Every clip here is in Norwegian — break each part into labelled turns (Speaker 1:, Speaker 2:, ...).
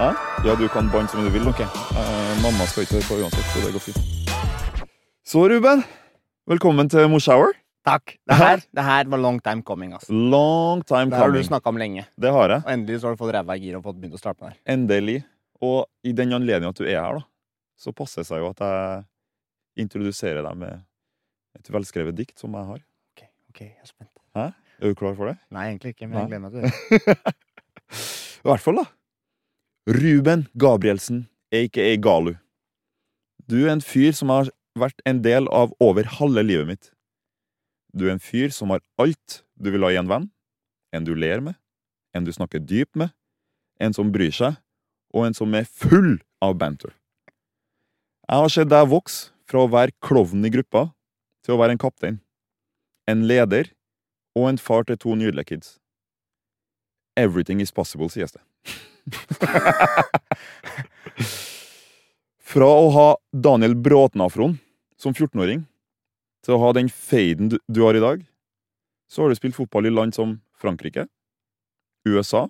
Speaker 1: Hæ? Ja, du kan banne som du vil, ok. Eh, mamma skal ikke høre på uansett, så det går fint. Så, Ruben, velkommen til Morshower.
Speaker 2: Takk. Det her, det her var long time coming. ass.
Speaker 1: Long time
Speaker 2: Det her har du
Speaker 1: coming.
Speaker 2: snakka om lenge.
Speaker 1: Det har jeg.
Speaker 2: Og endelig så har du fått ræva i gir og fått begynt å starte med det her.
Speaker 1: Endelig. Og i den anledning at du er her, da, så passer det seg jo at jeg introduserer deg med et velskrevet dikt som jeg har.
Speaker 2: Ok, ok, jeg er spent.
Speaker 1: Hæ? Er du klar for det?
Speaker 2: Nei, egentlig ikke, men jeg
Speaker 1: Nei.
Speaker 2: gleder meg til det.
Speaker 1: I hvert fall, da. Ruben Gabrielsen, aka Galu. Du er en fyr som har vært en del av over halve livet mitt. Du er en fyr som har alt du vil ha i en venn. En du ler med. En du snakker dypt med. En som bryr seg. Og en som er full av banter. Jeg har sett deg vokse fra å være klovnen i gruppa til å være en kaptein. En leder og en far til to nydelige kids. Everything is possible, sies det. Fra å ha Daniel Bråten-afroen som 14-åring til å ha den faden du, du har i dag, så har du spilt fotball i land som Frankrike, USA,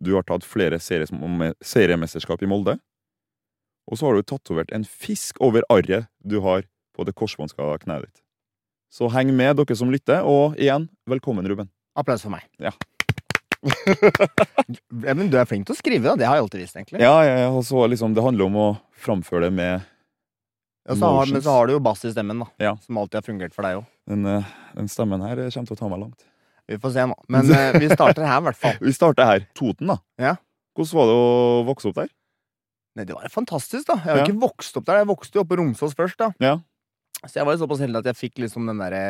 Speaker 1: du har tatt flere series- seriemesterskap i Molde, og så har du tatovert en fisk over arret du har på det korsbåndska kneet ditt. Så heng med, dere som lytter, og igjen, velkommen, Ruben.
Speaker 2: Applaus for meg.
Speaker 1: Ja.
Speaker 2: Ja, Men du er flink til å skrive, da. Det har jeg alltid visst, egentlig.
Speaker 1: Ja, ja, ja, og så liksom, det handler om å framføre det med
Speaker 2: Og så har, men
Speaker 1: Emotions.
Speaker 2: så har du jo bass i stemmen, da.
Speaker 1: Ja.
Speaker 2: Som alltid har fungert for deg òg.
Speaker 1: den, eh, den stemmen her eh, kommer til å ta meg langt.
Speaker 2: Vi får se nå. Men eh, vi starter her, i hvert fall.
Speaker 1: Vi starter her. Toten, da.
Speaker 2: Ja.
Speaker 1: Hvordan var det å vokse opp der?
Speaker 2: Nei, det var fantastisk, da. Jeg har
Speaker 1: Ja.
Speaker 2: jo ikke vokst opp der. Jeg vokste jo oppe på Romsås først, da.
Speaker 1: Ja.
Speaker 2: Så jeg var jo såpass heldig at jeg fikk liksom den derre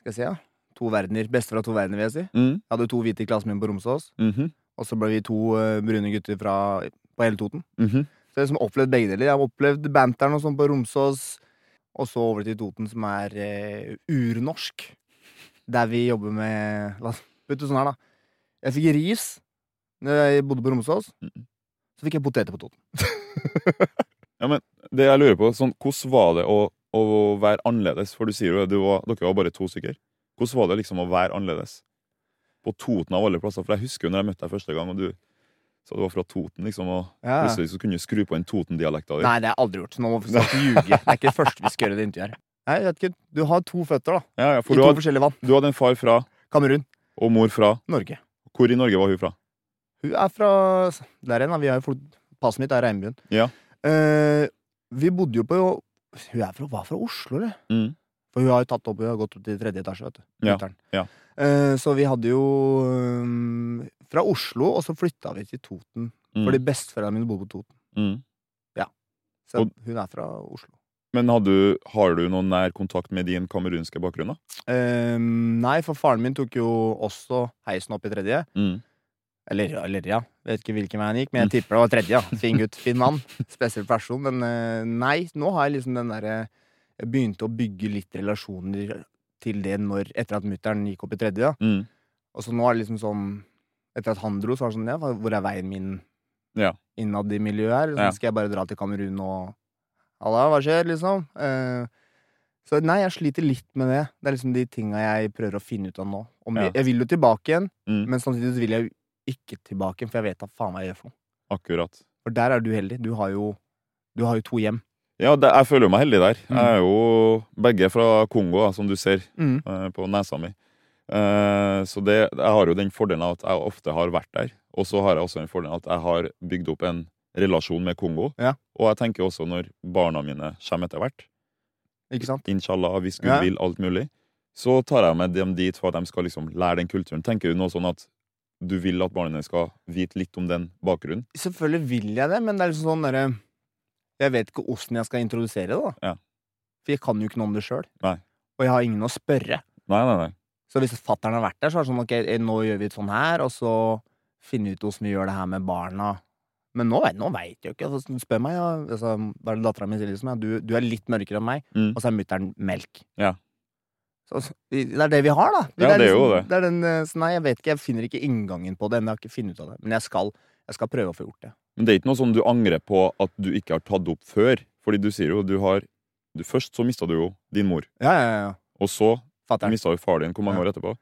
Speaker 2: Skal jeg si, ja. To verdener. Beste fra to verdener, vil jeg si.
Speaker 1: Mm.
Speaker 2: Jeg hadde jo to hvite i klassen min på Romsås,
Speaker 1: mhm,
Speaker 2: og så ble vi to eh, brune gutter fra, på hele Toten.
Speaker 1: mhm.
Speaker 2: Så jeg har liksom opplevd begge deler. Jeg har opplevd banteren og sånn på Romsås, og så over til Toten, som er eh, urnorsk. Der vi jobber med la, oss- Vet du sånn her, da. Jeg fikk ris når jeg bodde på Romsås.
Speaker 1: Mm.
Speaker 2: Så fikk jeg poteter på Toten.
Speaker 1: Det jeg lurer på, sånn, hvordan var det å, å være annerledes? For du sier jo det, du var, dere var bare to stykker. Hvordan var det liksom å være annerledes? På Toten av alle plasser. For jeg husker jo når jeg møtte deg første gang, og du sa du var fra Toten, liksom, og
Speaker 2: Ja.
Speaker 1: plutselig så kunne du skru på den Toten-dialekta di.
Speaker 2: Nei, det har jeg aldri gjort. Så nå må vi snart ljuge. Det er ikke det første vi skal gjøre i det intervjuet her. Nei, jeg vet ikke. Du har to føtter, da.
Speaker 1: Ja, ja,
Speaker 2: I
Speaker 1: for du
Speaker 2: to
Speaker 1: hadde,
Speaker 2: forskjellige vann.
Speaker 1: du hadde en far fra,
Speaker 2: Kamerun.
Speaker 1: og mor fra.
Speaker 2: Norge.
Speaker 1: Hvor i Norge var hun fra?
Speaker 2: Hun er fra Der igjen, da. Vi har jo flytt Passet mitt er Regnbuen.
Speaker 1: Ja.
Speaker 2: Eh, vi bodde jo på Hun er fra, var fra Oslo, eller?
Speaker 1: Mm.
Speaker 2: For hun har jo tatt opp, hun har gått opp til tredje etasje, vet du.
Speaker 1: Ja,
Speaker 2: lytteren.
Speaker 1: ja.
Speaker 2: Eh, så vi hadde jo eh, Fra Oslo, og så flytta vi til Toten.
Speaker 1: Mm.
Speaker 2: Fordi besteforeldrene mine bodde på Toten.
Speaker 1: Mm.
Speaker 2: Så
Speaker 1: Og-
Speaker 2: hun er fra Oslo.
Speaker 1: Men har du, har du noen nær kontakt med din kamerunske bakgrunn? da?
Speaker 2: Eh, nei, for faren min tok jo også heisen opp i tredje. Eller, ja, eller ja, vet ikke hvilken vei han gikk, men jeg tipper det var tredje. Ja. Fin gutt, fin mann. Spesiell person. Men eh, nei, nå har jeg liksom den derre Jeg begynte å bygge litt relasjoner til det når, etter at mutter'n gikk opp i tredje. Ja.
Speaker 1: Mm.
Speaker 2: Og så nå er det liksom sånn Etter at han dro, så var det sånn ja, hva- Hvor er veien min
Speaker 1: Ja.
Speaker 2: innad i miljøet her? Liksom,
Speaker 1: Ja.
Speaker 2: Skal jeg bare dra til Kamerun og Halla, hva skjer, liksom? Eh, så nei, jeg sliter litt med det. Det er liksom de tinga jeg prøver å finne ut av nå. Om
Speaker 1: Ja.
Speaker 2: jeg, jeg vil jo tilbake igjen,
Speaker 1: Mm.
Speaker 2: men samtidig så vil jeg jo ikke tilbake igjen, for jeg vet da faen hva jeg gjør for noe.
Speaker 1: Akkurat.
Speaker 2: For der er du heldig. Du har jo, du har jo to hjem.
Speaker 1: Ja, det, jeg føler meg heldig der.
Speaker 2: Mm.
Speaker 1: Jeg er jo begge fra Kongo, da, som du ser
Speaker 2: Mm.
Speaker 1: eh, på nesa mi. Eh, Eh, så det, jeg har jo den fordelen at jeg ofte har vært der. Og så har jeg også den fordelen at jeg har bygd opp en relasjon med Kongo.
Speaker 2: Ja.
Speaker 1: Og jeg tenker også når barna mine kommer etter hvert,
Speaker 2: Ikke sant?
Speaker 1: inshallah, hvis Gud
Speaker 2: Ja.
Speaker 1: vil alt mulig, så tar jeg med dem dit for at de skal liksom lære den kulturen. Tenker du noe sånn at du vil at barna dine skal vite litt om den bakgrunnen?
Speaker 2: Selvfølgelig vil jeg det, men det er liksom sånn derre Jeg vet ikke åssen jeg skal introdusere det, da.
Speaker 1: Ja.
Speaker 2: For jeg kan jo ikke noe om det sjøl.
Speaker 1: Nei.
Speaker 2: Og jeg har ingen å spørre.
Speaker 1: Nei, nei, nei.
Speaker 2: Så hvis fattern har vært der, så er det sånn ok, nå gjør vi det sånn her, og så finne ut hvordan vi gjør det her med barna. Men nå, vet- nå veit jeg jo ikke. Altså, spør meg, ja. Altså, da er det dattera mi sier liksom ja, du, du er litt mørkere enn meg,
Speaker 1: Mm.
Speaker 2: og så er mutter'n melk.
Speaker 1: Ja.
Speaker 2: Så, så- det er det vi har, da.
Speaker 1: Ja, det er jo det.
Speaker 2: det er den, eh, så nei, jeg vet ikke, jeg finner ikke inngangen på det ennå. Jeg har ikke funnet ut av det. Men jeg skal, jeg skal prøve å få gjort det.
Speaker 1: Men det er ikke noe sånn du angrer på at du ikke har tatt opp før. Fordi du sier jo du har du, Først så mista du jo din mor.
Speaker 2: Ja, ja, ja.
Speaker 1: Og så
Speaker 2: Fatter'n.
Speaker 1: mista du far din. Hvor mange
Speaker 2: Ja.
Speaker 1: år etterpå?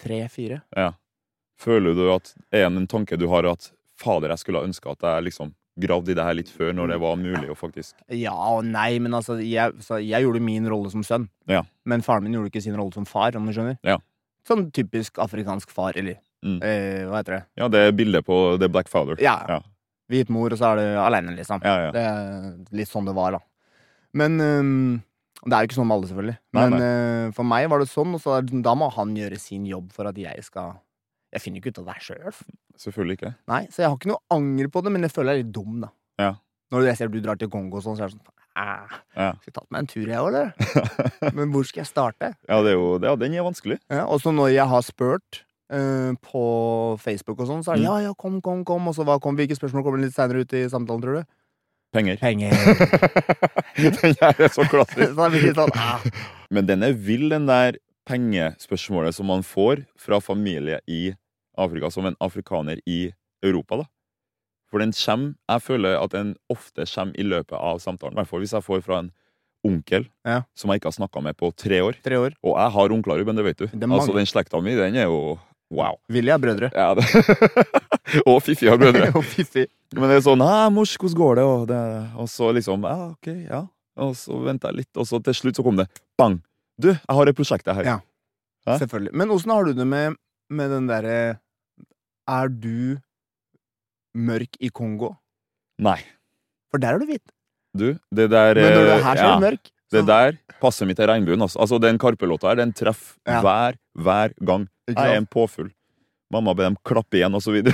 Speaker 2: Tre-fire.
Speaker 1: Ja. Føler du at er det en tanke du har at fader, jeg skulle ha ønska at jeg liksom gravde i det her litt før, når det var mulig å faktisk
Speaker 2: Ja og nei, men altså jeg, så jeg gjorde min rolle som sønn.
Speaker 1: Ja.
Speaker 2: Men faren min gjorde ikke sin rolle som far, om du skjønner.
Speaker 1: Ja.
Speaker 2: Sånn typisk afrikansk far, eller
Speaker 1: Mm.
Speaker 2: eh, hva heter det?
Speaker 1: Ja, det er bildet på The Black Father.
Speaker 2: Ja.
Speaker 1: Ja.
Speaker 2: Hvit mor, og så er du aleine, liksom.
Speaker 1: Ja, ja.
Speaker 2: Det er litt sånn det var, da. Men ehm, Det er jo ikke sånn med alle, selvfølgelig.
Speaker 1: Nei,
Speaker 2: men eh, for meg var det sånn, og så er det sånn, da må han gjøre sin jobb for at jeg skal Jeg finner jo ikke ut av det her sjøl.
Speaker 1: Selvfølgelig ikke.
Speaker 2: Nei, så jeg har ikke noe anger på det, men jeg føler jeg er litt dum, da.
Speaker 1: Ja.
Speaker 2: Når jeg ser du drar til Kongo og sånn, så er det sånn Æh,
Speaker 1: Ja.
Speaker 2: Skal jeg tatt meg en tur, jeg òg, eller? men hvor skal jeg starte?
Speaker 1: Ja, det er jo, ja, den er vanskelig.
Speaker 2: Ja, og så når jeg har spurt eh, på Facebook og sånn, så er
Speaker 1: Mm.
Speaker 2: det ja, ja, kom, kom, kom. Og så hva kom, hvilke spørsmål kommer litt seinere ut i samtalen, tror du?
Speaker 1: Penger.
Speaker 2: Penger.
Speaker 1: den her er så
Speaker 2: så
Speaker 1: klassisk.
Speaker 2: det blir litt sånn, ah.
Speaker 1: Men den er vill, den der pengespørsmålet som man får fra familie i Afrika, som en afrikaner i Europa, da. For den kommer Jeg føler at den ofte kommer i løpet av samtalen. I hvert fall hvis jeg får fra en onkel
Speaker 2: Ja.
Speaker 1: som jeg ikke har snakka med på tre år.
Speaker 2: Tre år.
Speaker 1: Og jeg har onkler, Ruben, det vet du.
Speaker 2: er mange.
Speaker 1: Altså, den slekta mi, den er jo wow.
Speaker 2: Willy har brødre.
Speaker 1: Ja, det. og fiffige brødre.
Speaker 2: Og fiffig.
Speaker 1: Men det er sånn 'Hæ, mors, hvordan går det?' Og, det, og så liksom Ja, ok, ja. Og så venta jeg litt, og så til slutt så kom det bang! Du, jeg har et prosjekt her.
Speaker 2: Ja.
Speaker 1: Hæ?
Speaker 2: Selvfølgelig. Men åssen har du det med, med den derre Er du mørk i Kongo?
Speaker 1: Nei.
Speaker 2: For der er du hvit.
Speaker 1: Du, det der
Speaker 2: Men når du er
Speaker 1: eh,
Speaker 2: her, så er du mørk.
Speaker 1: Det der passer mitt til regnbuen. Altså. altså, den Karpe-låta her, den treffer
Speaker 2: Ja.
Speaker 1: hver, hver gang.
Speaker 2: Ikke
Speaker 1: Jeg er
Speaker 2: sant?
Speaker 1: en påfugl. Mamma ber dem klappe igjen, og så videre.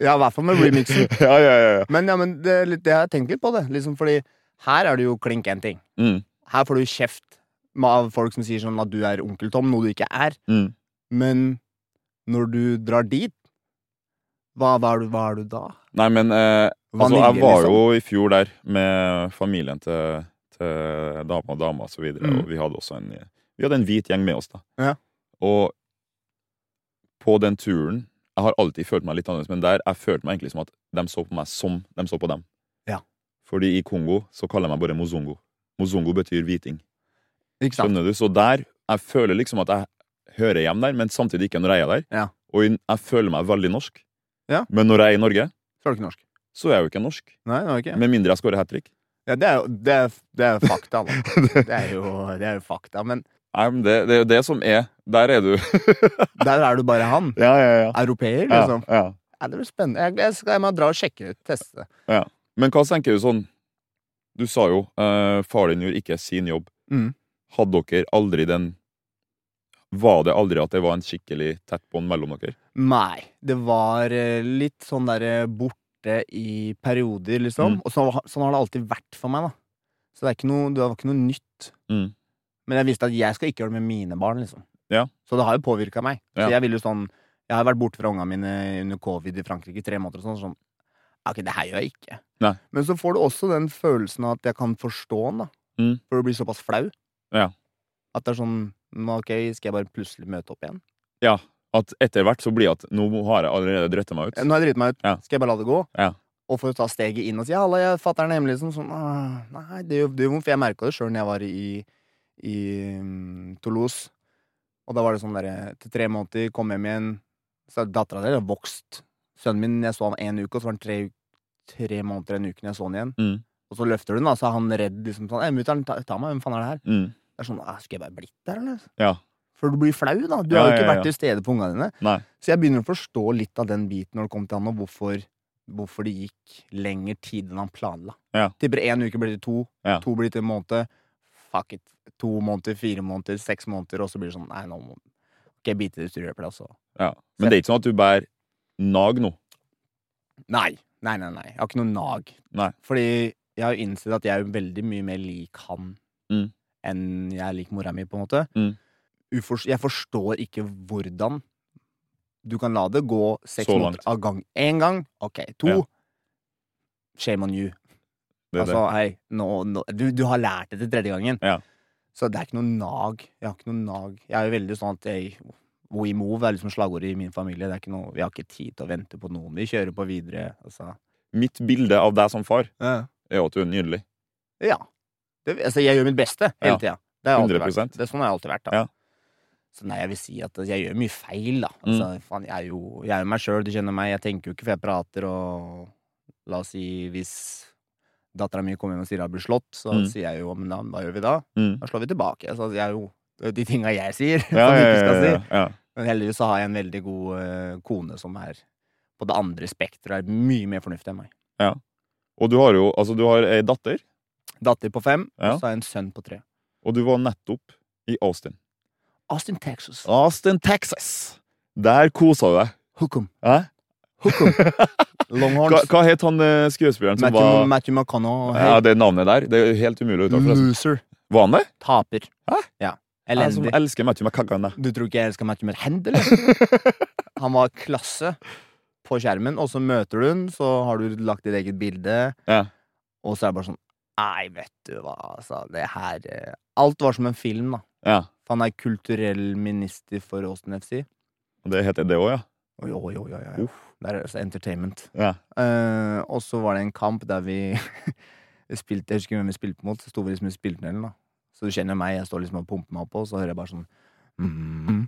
Speaker 2: Ja, i hvert fall med remixen.
Speaker 1: ja, ja, ja. ja.
Speaker 2: Men, ja, men det, er litt- det har jeg tenkt litt på, det. Liksom fordi her er det jo klink én ting.
Speaker 1: Mm,
Speaker 2: Her får du kjeft med- av folk som sier sånn at du er onkel Tom, noe du ikke er.
Speaker 1: mm.
Speaker 2: Men når du drar dit, hva, hva, er, du, hva er du da?
Speaker 1: Nei, men eh, altså,
Speaker 2: Vanilje,
Speaker 1: jeg var
Speaker 2: liksom.
Speaker 1: jo i fjor der med familien til, til dama og dama og så videre,
Speaker 2: Mm.
Speaker 1: og vi hadde også en, vi hadde en hvit gjeng med oss da.
Speaker 2: Ja.
Speaker 1: Og på den turen, jeg har alltid følt meg litt annerledes, men der jeg følte meg egentlig som at de så på meg som de så på dem.
Speaker 2: Ja.
Speaker 1: Fordi i Kongo så kaller jeg meg bare mozongo. Mozongo betyr hviting.
Speaker 2: Ikke sant?
Speaker 1: Skjønner du? Så der, jeg føler liksom at jeg hører hjem der, men samtidig ikke når jeg er der.
Speaker 2: Ja.
Speaker 1: Og jeg føler meg veldig norsk.
Speaker 2: Ja.
Speaker 1: Men når jeg er i Norge,
Speaker 2: Så er du ikke norsk.
Speaker 1: så er jeg jo ikke norsk.
Speaker 2: Nei, det var ikke
Speaker 1: Med mindre jeg skårer hat trick.
Speaker 2: ja, det, er jo, det, er, det er jo fakta, da. Det er jo, det er jo fakta. Men
Speaker 1: Nei, men det, det er jo det som er Der er du.
Speaker 2: der er du bare han.
Speaker 1: ja, ja, ja.
Speaker 2: Europeer,
Speaker 1: ja,
Speaker 2: liksom.
Speaker 1: ja,
Speaker 2: Ja, det blir spennende. Jeg, jeg skal jeg må dra og sjekke det ut. Teste det.
Speaker 1: ja. Men hva tenker du sånn Du sa jo uh, far din gjorde ikke sin jobb.
Speaker 2: Mm.
Speaker 1: Hadde dere aldri den Var det aldri at det var en skikkelig tett bånd mellom dere?
Speaker 2: Nei. Det var eh, litt sånn derre borte i perioder, liksom.
Speaker 1: Mm.
Speaker 2: Og så, sånn har det alltid vært for meg, da. Så det, er ikke noe, det var ikke noe nytt.
Speaker 1: Mm.
Speaker 2: Men jeg visste at jeg skal ikke gjøre det med mine barn, liksom.
Speaker 1: Ja.
Speaker 2: Så det har jo påvirka meg.
Speaker 1: Ja.
Speaker 2: Så jeg vil jo sånn Jeg har vært borte fra ungene mine under covid i Frankrike i tre måneder og sånn. sånn «Ja, Ok, det her gjør jeg ikke.
Speaker 1: Nei.
Speaker 2: Men så får du også den følelsen av at jeg kan forstå den, da.
Speaker 1: Mm.
Speaker 2: For du blir såpass flau.
Speaker 1: Ja.
Speaker 2: At det er sånn «Nå, Ok, skal jeg bare plutselig møte opp igjen?
Speaker 1: Ja. At etter hvert så blir at nå har jeg allerede drøtta meg ut.
Speaker 2: Nå har jeg driti meg ut.
Speaker 1: Ja.
Speaker 2: Skal jeg bare la det gå?
Speaker 1: Ja.
Speaker 2: Og for å ta steget inn og si 'halla, jeg fatter'n hjemme', liksom. Sånn, «Åh, nei, det gjør det gjør vondt. For jeg merka det sjøl når jeg var i, i mm, Toulouse. Og da var det sånn derre Til tre måneder, kom hjem igjen. Så er dattera di vokst. Sønnen min, jeg så han en uke, og så var han tre, u- tre måneder en uke når jeg så han igjen.
Speaker 1: Mm.
Speaker 2: Og så løfter du den, da, så er han redd liksom sånn 'Ei, mutter'n, ta, ta meg, hvem faen er det her?'
Speaker 1: Mm.
Speaker 2: Det er sånn «Åh, Skulle jeg bare blitt der, eller?
Speaker 1: Ja.
Speaker 2: For du blir flau, da. Du
Speaker 1: Ja,
Speaker 2: har jo ikke
Speaker 1: ja, ja.
Speaker 2: vært til stede på ungene dine.
Speaker 1: Nei.
Speaker 2: Så jeg begynner å forstå litt av den biten når det kom til han, og hvorfor, hvorfor det gikk lengre tid enn han planla.
Speaker 1: Ja.
Speaker 2: Tipper én uke blir til to,
Speaker 1: Ja.
Speaker 2: to blir til en måned. Fuck it. To måneder, fire måneder, seks måneder, og så blir det sånn Nei, nå må ikke jeg bite det styret, altså.
Speaker 1: Ja. Men det er ikke sånn at du bærer nag nå.
Speaker 2: Nei. Nei, nei, nei. Jeg har ikke noe nag.
Speaker 1: Nei.
Speaker 2: Fordi jeg har jo innsett at jeg er jo veldig mye mer lik han
Speaker 1: Mm.
Speaker 2: enn jeg er lik mora mi, på en måte.
Speaker 1: Mm.
Speaker 2: Ufor- jeg forstår ikke hvordan du kan la det gå seks
Speaker 1: Så
Speaker 2: måneder
Speaker 1: langt.
Speaker 2: av gang. Én gang, OK. To.
Speaker 1: Ja.
Speaker 2: Shame on you.
Speaker 1: Det, er
Speaker 2: altså, hei, nå, nå, du, du har lært det til tredje gangen.
Speaker 1: Ja.
Speaker 2: Så det er ikke noe nag. Jeg har ikke noe nag. Jeg er jo veldig sånn at jeg We move er liksom slagordet i min familie. Det er ikke noe, vi har ikke tid til å vente på noen. Vi kjører på videre. Altså.
Speaker 1: det. Mitt bilde av deg som far
Speaker 2: Ja.
Speaker 1: er jo at du er nydelig.
Speaker 2: Det, altså, jeg gjør mitt beste hele
Speaker 1: Ja.
Speaker 2: tida. Det har jeg alltid
Speaker 1: 100%.
Speaker 2: vært. Det er sånn har jeg alltid vært. Da.
Speaker 1: Ja. Mm.
Speaker 2: Så nei, jeg vil si at jeg gjør mye feil, da. Altså, faen, jeg er jo jeg er jo meg sjøl, du kjenner meg. Jeg tenker jo ikke, for jeg prater og La oss si hvis dattera mi kommer hjem og sier hun blir slått, så
Speaker 1: Mm.
Speaker 2: sier jeg jo men da, hva gjør vi da?
Speaker 1: Mm.
Speaker 2: Da slår vi tilbake. Så jeg er jo det er de tinga jeg sier,
Speaker 1: Ja,
Speaker 2: som
Speaker 1: ja,
Speaker 2: du ikke skal
Speaker 1: ja,
Speaker 2: si.
Speaker 1: ja, ja.
Speaker 2: Men heldigvis så har jeg en veldig god eh, kone som er på det andre spekteret, er mye mer fornuftig enn meg.
Speaker 1: Og du har jo altså, du har ei datter,
Speaker 2: Datter på fem,
Speaker 1: Ja.
Speaker 2: og så har jeg en sønn på tre.
Speaker 1: og du var nettopp i Austin.
Speaker 2: Austin, Texas.
Speaker 1: Austin, Texas! Der kosa du deg.
Speaker 2: Hookum.
Speaker 1: Hæ? Hva,
Speaker 2: Longhorns.
Speaker 1: hva het han eh, skuespilleren som
Speaker 2: Matthew,
Speaker 1: var
Speaker 2: Matthew McConnell.
Speaker 1: ja, Det navnet der det er jo helt umulig å uttale. forresten.
Speaker 2: Loser.
Speaker 1: Var han det?
Speaker 2: Taper.
Speaker 1: Hæ?
Speaker 2: Ja.
Speaker 1: Jeg som
Speaker 2: Elendig.
Speaker 1: elsker Matthew McCaggan.
Speaker 2: Du tror ikke jeg elsker Matthew McHend, eller? Han var klasse på skjermen, og så møter du hun, så har du lagt ditt eget bilde,
Speaker 1: Ja.
Speaker 2: og så er det bare sånn Nei, vet du hva, altså, det her eh, Alt var som en film, da.
Speaker 1: ja.
Speaker 2: Han er kulturell minister for Austin FC.
Speaker 1: Og Det heter det òg, ja.
Speaker 2: Oi, oi, oi, oi, oi. Der er det altså entertainment.
Speaker 1: ja.
Speaker 2: Eh, og så var det en kamp der vi spilte Jeg husker ikke hvem vi spilte mot. Så sto vi liksom i spilletunnelen, da. Så du kjenner meg, jeg står liksom og pumper meg opp, og så hører jeg bare sånn mm,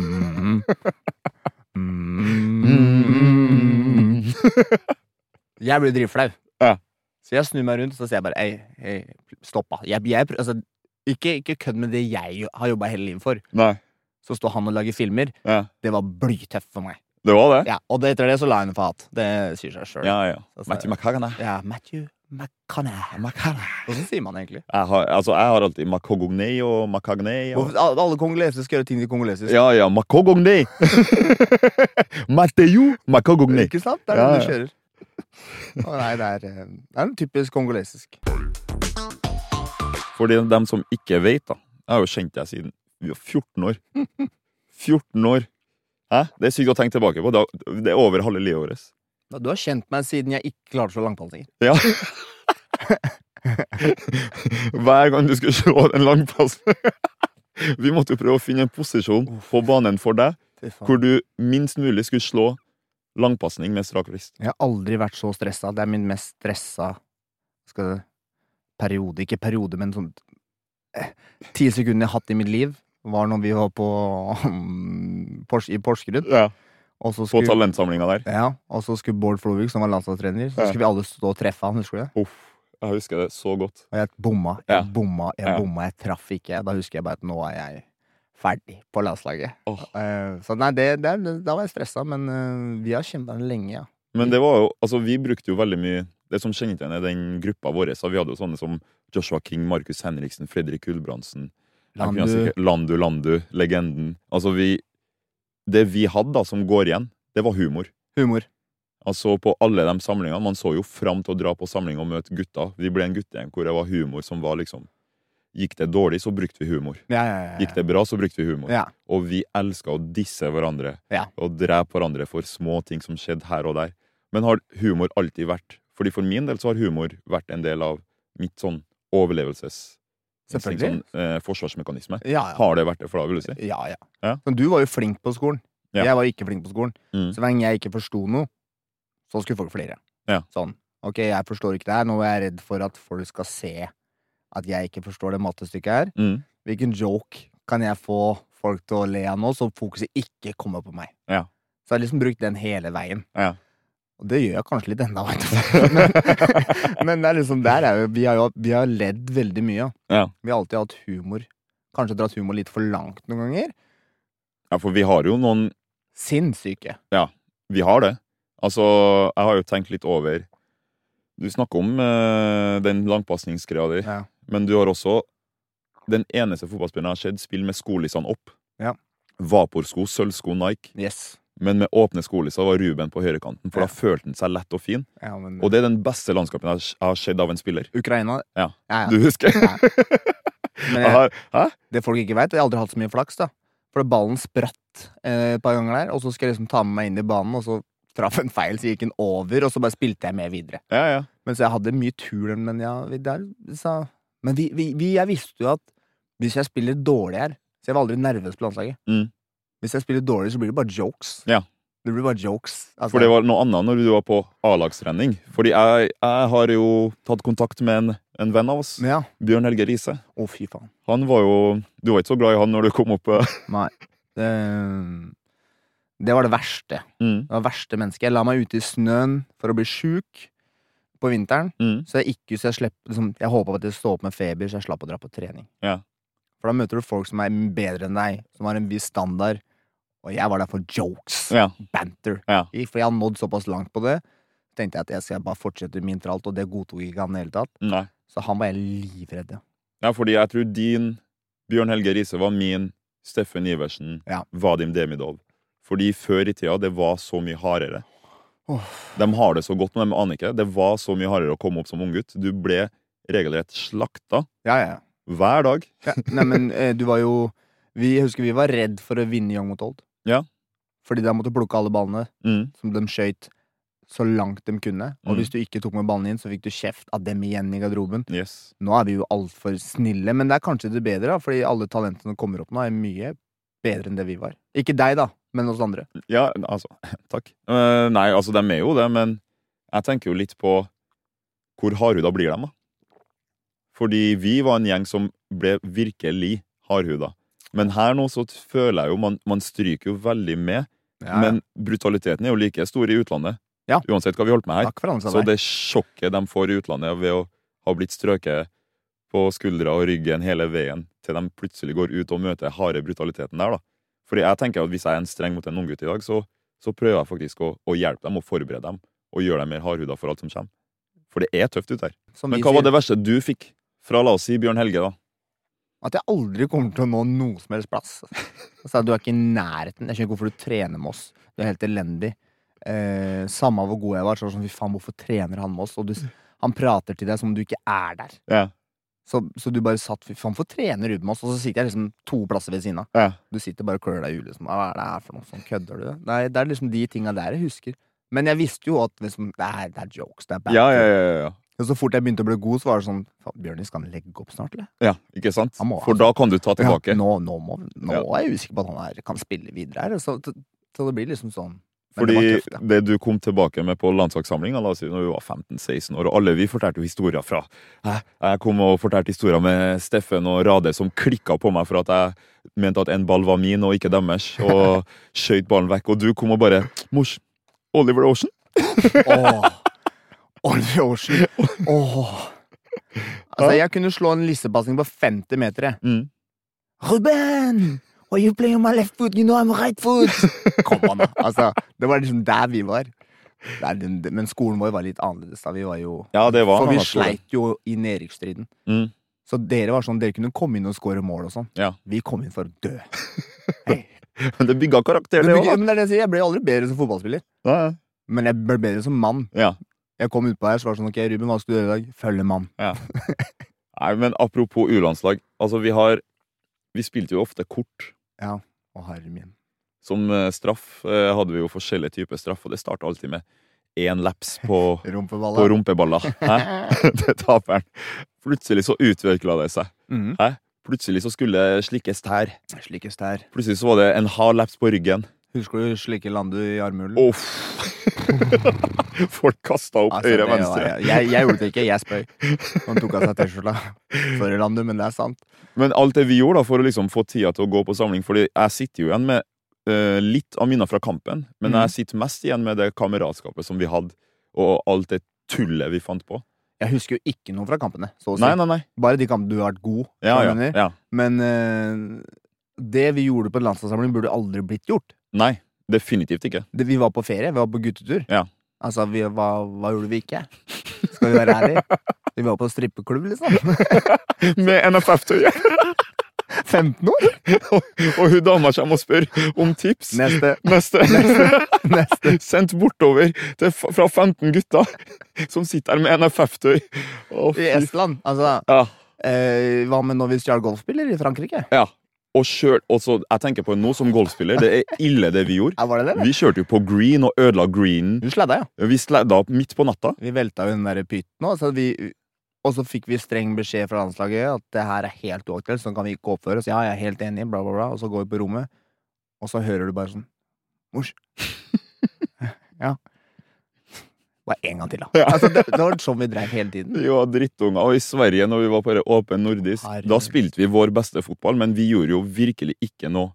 Speaker 2: mm, mm, mm. Jeg blir dritflau.
Speaker 1: Ja.
Speaker 2: Så jeg snur meg rundt, så ser jeg bare Ei, ei stopp, da. Jeg, jeg, prø- altså, ikke, ikke kødd med det jeg har jobba hele livet for.
Speaker 1: Nei.
Speaker 2: Så står han og lager filmer.
Speaker 1: Ja.
Speaker 2: Det var blytøft for meg.
Speaker 1: Det var det?
Speaker 2: Ja, og det, etter det så la jeg henne for hat. Det sier seg sjøl.
Speaker 1: Ja, ja.
Speaker 2: Altså,
Speaker 1: Matthew McCaggan. jeg.
Speaker 2: Ja, Matthew McConaughey. Hvordan sier man det egentlig?
Speaker 1: Jeg har, altså, jeg har alltid Macogognay og Macagnay. Og...
Speaker 2: Hvorfor- al- Alle kongolesere skal gjøre ting de kongolesisk.
Speaker 1: Ja, ja, Macogognay! Mateo Macogognay.
Speaker 2: Ikke sant? Det er
Speaker 1: Ja,
Speaker 2: den du kjører. Å, nei, det er, eh, det er en typisk kongolesisk.
Speaker 1: For de dem som ikke vet, da. Jeg har jo kjent deg siden vi var 14 år. 14 år! Hæ? Det er sykt å tenke tilbake på. Det er- Det er over halve livet vårt.
Speaker 2: Ja, Du har kjent meg siden jeg ikke klarte å slå langpallinger.
Speaker 1: Ja. Hver gang du skulle slå en langpass. Vi måtte jo prøve å finne en posisjon på banen for deg hvor du minst mulig skulle slå langpasning med strak vrist.
Speaker 2: Jeg har aldri vært så stressa. Det er min mest stressa skal jeg, periode. Ikke periode, men sånn eh, Ti sekunder jeg har hatt i mitt liv, var når vi var på, mm, Pors i Porsgrunn.
Speaker 1: Ja.
Speaker 2: Og så
Speaker 1: På
Speaker 2: skulle-
Speaker 1: talentsamlinga der.
Speaker 2: Ja, og så skulle Bård Flovik, som var landslagstrener, så
Speaker 1: Ja.
Speaker 2: skulle vi alle stå og treffe han, husker du det?
Speaker 1: Uff, jeg husker det så godt.
Speaker 2: Og jeg bomma,
Speaker 1: Ja.
Speaker 2: jeg bomma, jeg
Speaker 1: Ja.
Speaker 2: bomma, jeg traff ikke. Da husker jeg bare at nå er jeg ferdig på landslaget.
Speaker 1: Åh.
Speaker 2: Eh, så nei, det, det, er- da var jeg stressa, men eh, vi har kjempa lenge, ja.
Speaker 1: Men det var jo, altså vi brukte jo veldig mye Det som kjennetegner den gruppa vår, så vi hadde jo sånne som Joshua King, Markus Henriksen, Fredrik Gulbrandsen Jeg kunne
Speaker 2: Landu.
Speaker 1: sikkert- Landu, Landu, legenden. Altså vi Det vi hadde da, som går igjen, det var humor.
Speaker 2: Humor.
Speaker 1: Altså på alle de samlingene Man så jo fram til å dra på samling og møte gutta. Vi ble en guttegjeng hvor det var humor som var liksom Gikk det dårlig, så brukte vi humor.
Speaker 2: Ja, ja, ja, ja.
Speaker 1: Gikk det bra, så brukte vi humor.
Speaker 2: Ja.
Speaker 1: Og vi elska å disse hverandre
Speaker 2: Ja.
Speaker 1: og drepe hverandre for små ting som skjedde her og der. Men har humor alltid vært Fordi For min del så har humor vært en del av mitt sånn overlevelses...
Speaker 2: Selvfølgelig.
Speaker 1: Sånn, eh, forsvarsmekanisme.
Speaker 2: Ja, ja.
Speaker 1: Har det vært det for deg, vil du si?
Speaker 2: Ja, ja.
Speaker 1: Ja.
Speaker 2: Men du var jo flink på skolen.
Speaker 1: Ja.
Speaker 2: Jeg var ikke flink på skolen.
Speaker 1: Mm.
Speaker 2: Så lenge jeg ikke forsto noe, så skulle folk flere.
Speaker 1: Ja.
Speaker 2: Sånn. Ok, jeg forstår ikke det her. Nå er jeg redd for at folk skal se at jeg ikke forstår det mattestykket her.
Speaker 1: Mm.
Speaker 2: Hvilken joke kan jeg få folk til å le av nå, så fokuset ikke kommer på meg?
Speaker 1: Ja.
Speaker 2: Så jeg har liksom brukt den hele veien.
Speaker 1: Ja.
Speaker 2: Og det gjør jeg kanskje litt ennå, vet du. Men, men det er liksom der er jo Vi har jo vi har ledd veldig mye.
Speaker 1: Ja.
Speaker 2: Vi har alltid hatt humor Kanskje dratt humor litt for langt noen ganger.
Speaker 1: Ja, for vi har jo noen
Speaker 2: Sinnssyke.
Speaker 1: Vi har det. Altså, jeg har jo tenkt litt over Du snakker om eh, den langpasningsgreia di,
Speaker 2: Ja.
Speaker 1: men du har også den eneste fotballspilleren jeg har sett spille med skolissene opp.
Speaker 2: Ja.
Speaker 1: Vaporsko, sølvsko, Nike,
Speaker 2: Yes.
Speaker 1: men med åpne skolisser var Ruben på høyrekanten, for
Speaker 2: Ja.
Speaker 1: da følte han seg lett og fin.
Speaker 2: Ja, men
Speaker 1: Og det er den beste landskapen jeg har- jeg har sett av en spiller.
Speaker 2: Ukraina
Speaker 1: Ja.
Speaker 2: ja, ja.
Speaker 1: Du husker?
Speaker 2: Ja. Men
Speaker 1: Jeg har-
Speaker 2: jeg,
Speaker 1: Hæ?
Speaker 2: det folk ikke veit, jeg har aldri hatt så mye flaks, da. For ballen spratt eh, et par ganger der, og så skal jeg liksom ta med meg inn i banen, og så traff en feil, så gikk den over, og så bare spilte jeg med videre.
Speaker 1: Ja, ja.
Speaker 2: Men så jeg hadde mye tur, men ja, vi der sa Men vi, vi, vi, jeg visste jo at hvis jeg spiller dårlig her Så jeg var aldri nervøs på landslaget.
Speaker 1: Mm.
Speaker 2: Hvis jeg spiller dårlig, så blir det bare jokes.
Speaker 1: Ja.
Speaker 2: Det blir bare jokes. Altså,
Speaker 1: For det var noe annet når du var på A-lagstrening. Fordi jeg, jeg har jo tatt kontakt med en, en venn av oss,
Speaker 2: Ja.
Speaker 1: Bjørn Helge Riise.
Speaker 2: Å, fy faen.
Speaker 1: Han var jo Du var ikke så glad i han når du kom opp eh.
Speaker 2: Nei. Det, det var det verste.
Speaker 1: mm,
Speaker 2: Det var verste mennesket. Jeg la meg ute i snøen for å bli sjuk på vinteren.
Speaker 1: mm.
Speaker 2: Så jeg gikk ut, så jeg slapp liksom, Jeg håpa at jeg sto opp med feber, så jeg slapp å dra på trening.
Speaker 1: Ja.
Speaker 2: For da møter du folk som er bedre enn deg, som har en viss standard. Og jeg var der for jokes.
Speaker 1: Ja.
Speaker 2: Banter.
Speaker 1: Ja.
Speaker 2: For jeg har nådd såpass langt på det. Tenkte jeg at jeg skal bare fortsette min tralt, og det godtok ikke han i det hele tatt.
Speaker 1: Nei.
Speaker 2: Så han var jeg livredd. ja.
Speaker 1: Ja, fordi jeg tror din Bjørn Helge Riise var min Steffen Iversen,
Speaker 2: Ja.
Speaker 1: Vadim Demidov. Fordi før i tida det var så mye hardere.
Speaker 2: Åh.
Speaker 1: De har det så godt, men de aner ikke. Det var så mye hardere å komme opp som unggutt. Du ble regelrett slakta
Speaker 2: Ja, ja, ja.
Speaker 1: hver dag.
Speaker 2: Ja, nei, men eh, du var jo vi, Jeg husker vi var redd for å vinne Young mot Old.
Speaker 1: Ja.
Speaker 2: Fordi de måtte plukke alle ballene
Speaker 1: Mm.
Speaker 2: som de skøyt, så langt de kunne. Og
Speaker 1: Mm.
Speaker 2: hvis du ikke tok med ballene inn, så fikk du kjeft av dem igjen i garderoben.
Speaker 1: Yes.
Speaker 2: Nå er vi jo altfor snille, men det er kanskje det bedre, da, fordi alle talentene som kommer opp nå, er mye bedre enn det vi var. Ikke deg, da, men oss andre.
Speaker 1: Ja, altså Takk. Eh, nei, altså, de er jo det, men jeg tenker jo litt på hvor hardhuda blir de, da. Fordi vi var en gjeng som ble virkelig hardhuda. Men her nå så føler jeg jo man, man stryker jo veldig med. Men brutaliteten er jo like stor i utlandet.
Speaker 2: Ja.
Speaker 1: Uansett hva vi holdt med her.
Speaker 2: Takk for alle
Speaker 1: Så
Speaker 2: sammen.
Speaker 1: det sjokket de får i utlandet ved å ha blitt strøket på skuldra og ryggen hele veien, til de plutselig går ut og møter harde brutaliteten der, da. Fordi jeg tenker at hvis jeg er en streng mot en unggutt i dag, så, så prøver jeg faktisk å, å hjelpe dem og forberede dem, og gjøre dem mer hardhuda for alt som kommer. For det er tøft ute her.
Speaker 2: Som
Speaker 1: Men
Speaker 2: vi
Speaker 1: hva var
Speaker 2: sier,
Speaker 1: det verste du fikk fra, la oss si, Bjørn Helge, da?
Speaker 2: At jeg aldri kommer til å nå noe som helst plass. Altså, du er ikke i nærheten. Jeg skjønner ikke hvorfor du trener med oss. Du er helt elendig. Eh, samme hvor god jeg var, så var det sånn fy faen, hvorfor trener han med oss? Og du, han prater til deg som om du ikke er der.
Speaker 1: Ja.
Speaker 2: Så, så du bare satt fy faen, hvorfor trener du med oss? Og så sitter jeg liksom to plasser ved siden av.
Speaker 1: Ja.
Speaker 2: Du sitter bare og klør deg i huet. Liksom. Hva er det her for noe? Sånn, kødder du? Nei, det er liksom de tinga der jeg husker. Men jeg visste jo at liksom, det, er, det er jokes. Det er bad.
Speaker 1: Ja, ja, ja, ja, ja.
Speaker 2: Og så fort jeg begynte å bli god, så var det sånn faen, Bjørnis, skal han legge opp snart, eller?
Speaker 1: Ja, ikke sant?
Speaker 2: Han må ha-
Speaker 1: For da kan du ta tilbake.
Speaker 2: Ja, nå nå, må, nå
Speaker 1: Ja.
Speaker 2: er jeg usikker på at han er, kan spille videre her. Så, så det blir liksom sånn. Men det var
Speaker 1: Fordi
Speaker 2: tøft, ja.
Speaker 1: det du kom tilbake med på landslagssamlinga da når vi var 15-16 år, og alle vi fortalte jo historier fra Hæ? Jeg kom og fortalte historier med Steffen og Rade som klikka på meg for at jeg mente at en ball var min og ikke deres, og skjøt ballen vekk. Og du kom og bare Mors, Oliver Ocean?
Speaker 2: Åh, Oliver Ocean. Åh. Altså, jeg kunne slå en lissepasning på 50 meter, jeg.
Speaker 1: Mm.
Speaker 2: Ruben! Why you playing my left foot? You know I'm right foot! Kom an, da. Altså, det var liksom der vi var. Det er den- Men skolen vår var litt annerledes. da. Vi var jo
Speaker 1: Ja, det var altså. en
Speaker 2: For vi
Speaker 1: annen skole.
Speaker 2: sleit jo i nedrykksstriden.
Speaker 1: Mm.
Speaker 2: Så dere var sånn, dere kunne komme inn og score mål og sånn.
Speaker 1: Ja.
Speaker 2: Vi kom inn for å dø.
Speaker 1: Men det bygga karakter,
Speaker 2: Men
Speaker 1: det
Speaker 2: det betyr-
Speaker 1: òg.
Speaker 2: men det er det jeg sier, jeg ble aldri bedre som fotballspiller.
Speaker 1: Ja,
Speaker 2: Men jeg ble bedre som mann.
Speaker 1: ja.
Speaker 2: Jeg kom utpå her og var sånn, ok, Ruben, hva skal du gjøre i dag? Følge mann.
Speaker 1: Ja. Nei, men apropos U-landslag. Altså, vi har Vi spilte jo ofte kort.
Speaker 2: Å, herre min.
Speaker 1: Som eh, straff eh, hadde vi jo forskjellige typer straff, og det starta alltid med én laps på, på
Speaker 2: Rumpeballa.
Speaker 1: rumpeballer. Hæ? Til taperen. Plutselig så utvikla det seg.
Speaker 2: Mhm.
Speaker 1: Hæ? Plutselig så skulle det slikkes tær.
Speaker 2: Slikkes der.
Speaker 1: Plutselig så var det en hard laps på ryggen.
Speaker 2: Husker du slikke landet i armhulen?
Speaker 1: Uff! Folk kasta opp
Speaker 2: Altså,
Speaker 1: høyre
Speaker 2: det
Speaker 1: og
Speaker 2: var-
Speaker 1: venstre.
Speaker 2: Jeg, jeg gjorde det ikke, jeg spøy. Han tok av seg T-skjorta. Sorry, Landu, men det er sant.
Speaker 1: Men alt det vi gjorde da, for å liksom få tida til å gå på samling, fordi jeg sitter jo igjen med eh, litt av minner fra kampen, men
Speaker 2: Mhm.
Speaker 1: jeg sitter mest igjen med det kameratskapet som vi hadde, og alt det tullet vi fant på.
Speaker 2: Jeg husker jo ikke noe fra kampene. Så å si.
Speaker 1: Nei, nei, nei.
Speaker 2: Bare de kampene du har vært god.
Speaker 1: Ja, ja,
Speaker 2: skjønner.
Speaker 1: ja.
Speaker 2: Men eh, det vi gjorde på en landslagssamling, burde aldri blitt gjort.
Speaker 1: Nei, definitivt ikke.
Speaker 2: Det, vi var på ferie. Vi var på guttetur.
Speaker 1: Ja.
Speaker 2: Altså, vi, hva, hva gjorde vi ikke? Skal vi være ærlige? Vi var på strippeklubb, liksom.
Speaker 1: Med NFF-tøyet!
Speaker 2: 15 år!
Speaker 1: og hun dama kommer og spør om tips.
Speaker 2: Neste.
Speaker 1: Neste.
Speaker 2: Neste.
Speaker 1: Sendt bortover til, f- fra 15 gutter som sitter her med NFF-tøy. Å,
Speaker 2: I
Speaker 1: fy-
Speaker 2: Estland. Altså,
Speaker 1: Ja.
Speaker 2: eh, hva med når vi stjal golfbiler i Frankrike?
Speaker 1: ja. Og kjør, også, jeg tenker på nå som golfspiller, det er ille det vi gjorde.
Speaker 2: Ja, var det det?
Speaker 1: Vi kjørte jo på green og ødela greenen.
Speaker 2: Du sladda, ja.
Speaker 1: Vi sladda opp midt på natta.
Speaker 2: Vi velta jo den der pytten òg, så vi og så fikk vi streng beskjed fra landslaget at det her er helt uaktuelt, sånn kan vi ikke oppføre oss. Ja, jeg er helt enig, bla, bla, bla. Og så går vi på rommet, og så hører du bare sånn Mors. ja. Bare en gang til, da. Altså, det, det var sånn vi dreiv hele tiden.
Speaker 1: Vi var drittunger, og i Sverige når vi var på det åpen nordisk,
Speaker 2: Herregud.
Speaker 1: da spilte vi vår beste fotball, men vi gjorde jo virkelig ikke noe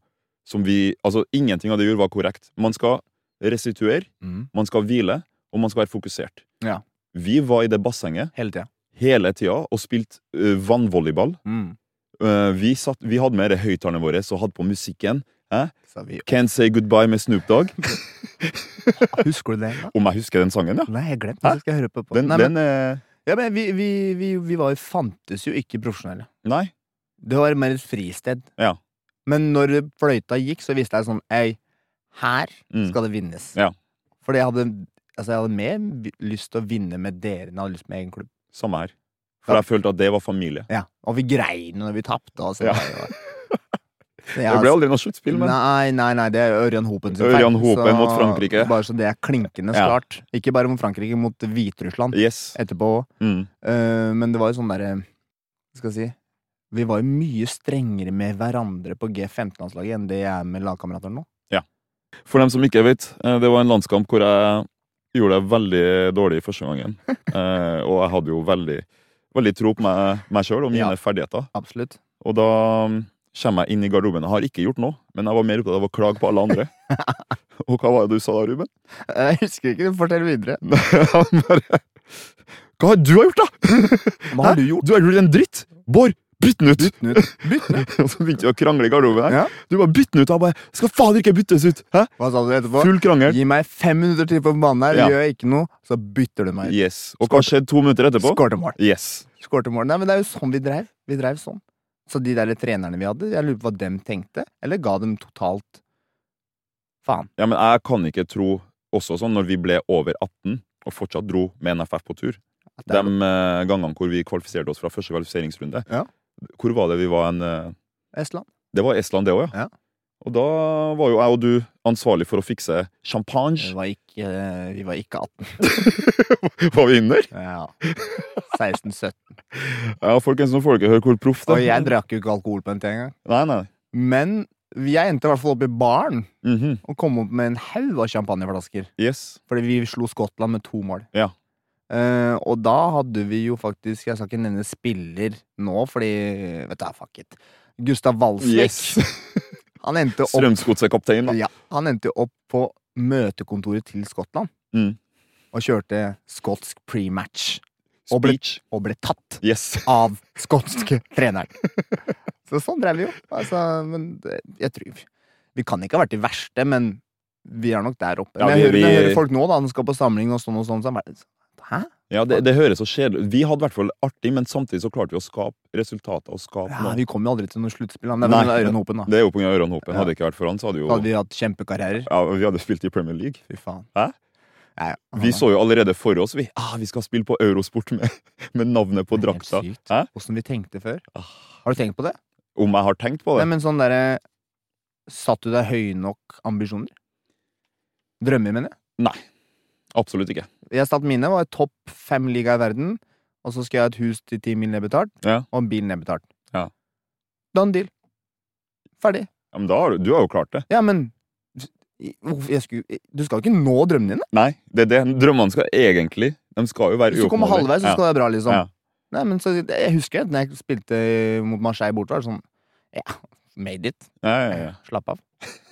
Speaker 1: som vi Altså, ingenting av det vi gjorde, var korrekt. Man skal restituere,
Speaker 2: Mm.
Speaker 1: man skal hvile, og man skal være fokusert.
Speaker 2: Ja.
Speaker 1: Vi var i det bassenget
Speaker 2: Hele tida.
Speaker 1: hele tida og spilte øh, vannvolleyball.
Speaker 2: Mm.
Speaker 1: Øh, vi, satt, vi hadde med det høyttalerne våre og hadde på musikken. Hæ?
Speaker 2: Så vi
Speaker 1: Can't Say Goodbye med Snoop Dogg.
Speaker 2: Husker du det? Da?
Speaker 1: Om jeg husker den sangen, ja.
Speaker 2: Nei, jeg glemte det. Skal jeg høre på på
Speaker 1: Den,
Speaker 2: Nei, men,
Speaker 1: den eh, er
Speaker 2: ja, men vi, vi, vi, vi var, jo- fantes jo ikke profesjonelle.
Speaker 1: Nei.
Speaker 2: Det var mer et fristed.
Speaker 1: Ja.
Speaker 2: Men når fløyta gikk, så visste jeg sånn Ei, her
Speaker 1: Mm.
Speaker 2: skal det vinnes.
Speaker 1: Ja.
Speaker 2: Fordi jeg hadde, altså, jeg hadde mer vi- lyst til å vinne med dere enn jeg hadde lyst med egen klubb.
Speaker 1: Samme her. For jeg følte at det var familie.
Speaker 2: Ja. Og vi grein når vi tapte. Altså,
Speaker 1: Ja.
Speaker 2: det var- Så jeg-
Speaker 1: Det ble aldri noe sluttspill, men
Speaker 2: Nei, nei, nei, det er Ørjan Hopen sin
Speaker 1: Ørjan Hopen
Speaker 2: så-
Speaker 1: mot Frankrike.
Speaker 2: Bare så det er klinkende
Speaker 1: Ja.
Speaker 2: klart. Ikke bare mot Frankrike, mot Hviterussland
Speaker 1: Yes.
Speaker 2: etterpå.
Speaker 1: Mm.
Speaker 2: Eh, men det var jo sånn derre Hva skal jeg si Vi var jo mye strengere med hverandre på G15-landslaget enn det jeg er med lagkamerater nå.
Speaker 1: For dem som ikke vet, eh, det var en landskamp hvor jeg gjorde det veldig dårlig første gangen. Eh, og jeg hadde jo veldig, veldig tro på meg, meg sjøl og mine
Speaker 2: Ja.
Speaker 1: ferdigheter.
Speaker 2: Absolutt.
Speaker 1: Og da mm, kommer jeg inn i garderoben. Jeg har ikke gjort noe, men jeg var mer opptatt av å klage på alle andre. og hva var det du sa da, Ruben?
Speaker 2: Eh, Jeg husker ikke. Fortell videre.
Speaker 1: Han bare Hva har du gjort, da?!
Speaker 2: Hva
Speaker 1: Hæ?
Speaker 2: har du gjort?
Speaker 1: Du har gjort en dritt! Bård, bytt den ut!
Speaker 2: Bytt den ut.
Speaker 1: og så begynte vi å krangle i garderoben. her.
Speaker 2: Ja.
Speaker 1: Du bare bytt den ut! Jeg bare Skal fader ikke byttes ut! Hæ?
Speaker 2: Hva sa du etterpå?
Speaker 1: Full krangel.
Speaker 2: Gi meg fem minutter til på banen her,
Speaker 1: Ja.
Speaker 2: gjør jeg ikke noe, så bytter du meg.
Speaker 1: Yes. Og hva skjedde to minutter etterpå?
Speaker 2: Skårte mål.
Speaker 1: Yes.
Speaker 2: Skårte mål. Nei, men det er jo sånn vi dreiv. Vi dreiv sånn. Så de der trenerne vi hadde, jeg lurer på hva dem tenkte, eller ga dem totalt faen.
Speaker 1: Ja, men jeg kan ikke tro også sånn når vi ble over 18 og fortsatt dro med NFF på tur.
Speaker 2: At
Speaker 1: De
Speaker 2: det er-
Speaker 1: eh, gangene hvor vi kvalifiserte oss fra første kvalifiseringsrunde.
Speaker 2: Ja.
Speaker 1: Hvor var det vi var en eh,
Speaker 2: Estland.
Speaker 1: Det var Estland, det òg, ja.
Speaker 2: Ja.
Speaker 1: Og da var jo jeg og du ansvarlig for å fikse
Speaker 2: Vi
Speaker 1: champagne.
Speaker 2: var ikke, eh, vi var ikke 18.
Speaker 1: var vi under?
Speaker 2: Ja. 16-17.
Speaker 1: Ja, folkens, nå får dere høre hvor proff det
Speaker 2: Og jeg drakk jo ikke alkohol på en ting engang.
Speaker 1: Nei, nei.
Speaker 2: Men jeg endte i hvert fall opp i baren
Speaker 1: Mhm.
Speaker 2: og kom opp med en haug av champagneflasker.
Speaker 1: Yes.
Speaker 2: Fordi vi slo Skottland med to mål.
Speaker 1: Ja.
Speaker 2: Eh, og da hadde vi jo faktisk Jeg skal ikke nevne spiller nå, fordi Vet du, fuck it. Gustav Walsvik.
Speaker 1: yes.
Speaker 2: Han endte opp
Speaker 1: Strømsgodsekaptein, da.
Speaker 2: ja, Han endte opp på møtekontoret til Skottland
Speaker 1: Mm.
Speaker 2: og kjørte skotsk prematch. Og ble,
Speaker 1: Speech.
Speaker 2: og ble tatt
Speaker 1: Yes.
Speaker 2: av skotske treneren. Så sånn drev vi jo. Altså, men det, jeg tror Vi kan ikke ha vært de verste, men vi er nok der oppe.
Speaker 1: Ja,
Speaker 2: men jeg,
Speaker 1: vi-
Speaker 2: hører, når jeg
Speaker 1: vi-
Speaker 2: hører folk nå, da, som skal på samling og sånn og sånn, så er det bare Hæ?
Speaker 1: Ja, det, det høres så kjedelig ut. Vi hadde i hvert fall artig, men samtidig så klarte vi å skape resultater. og skape
Speaker 2: Ja,
Speaker 1: noe.
Speaker 2: vi kom jo aldri til noe sluttspill. da. Men Det
Speaker 1: Nei,
Speaker 2: var med Øyren Hopen, da.
Speaker 1: Det er jo pga. Ørjan Hopen.
Speaker 2: Ja.
Speaker 1: Hadde det ikke vært for han, så hadde jo
Speaker 2: Da hadde vi hatt kjempekarrierer.
Speaker 1: ja, Vi hadde spilt i Premier League.
Speaker 2: Fy faen.
Speaker 1: Hæ?
Speaker 2: Ja, ja.
Speaker 1: Vi så jo allerede for oss vi, ah, vi skal spille på Eurosport med, med navnet på
Speaker 2: Det er helt
Speaker 1: drakta.
Speaker 2: sykt.
Speaker 1: Hæ? Ah.
Speaker 2: Åssen vi tenkte før. Har du tenkt på det?
Speaker 1: Om jeg har tenkt på det?
Speaker 2: Nei, men sånn derre Satt du deg høye nok ambisjoner? Drømmer, mener jeg.
Speaker 1: Absolutt ikke.
Speaker 2: Jeg satt mine, var topp fem liga i verden, og så skal jeg ha et hus til ti mil nedbetalt,
Speaker 1: Ja.
Speaker 2: og bilen nedbetalt.
Speaker 1: Ja.
Speaker 2: Done deal. Ferdig.
Speaker 1: Ja, men da har du, du har jo klart det.
Speaker 2: Ja, men Hvorfor- jeg skulle, Du skal jo ikke nå drømmene dine!
Speaker 1: Nei, det er det. Drømmene skal egentlig De skal jo være
Speaker 2: Hvis du kommer halvveis, så skal det være bra, liksom.
Speaker 1: Ja.
Speaker 2: Nei, men så, Jeg husker det, når jeg spilte mot Marseille borte, var det sånn Ja, made it.
Speaker 1: Ja, ja, ja.
Speaker 2: Slapp av.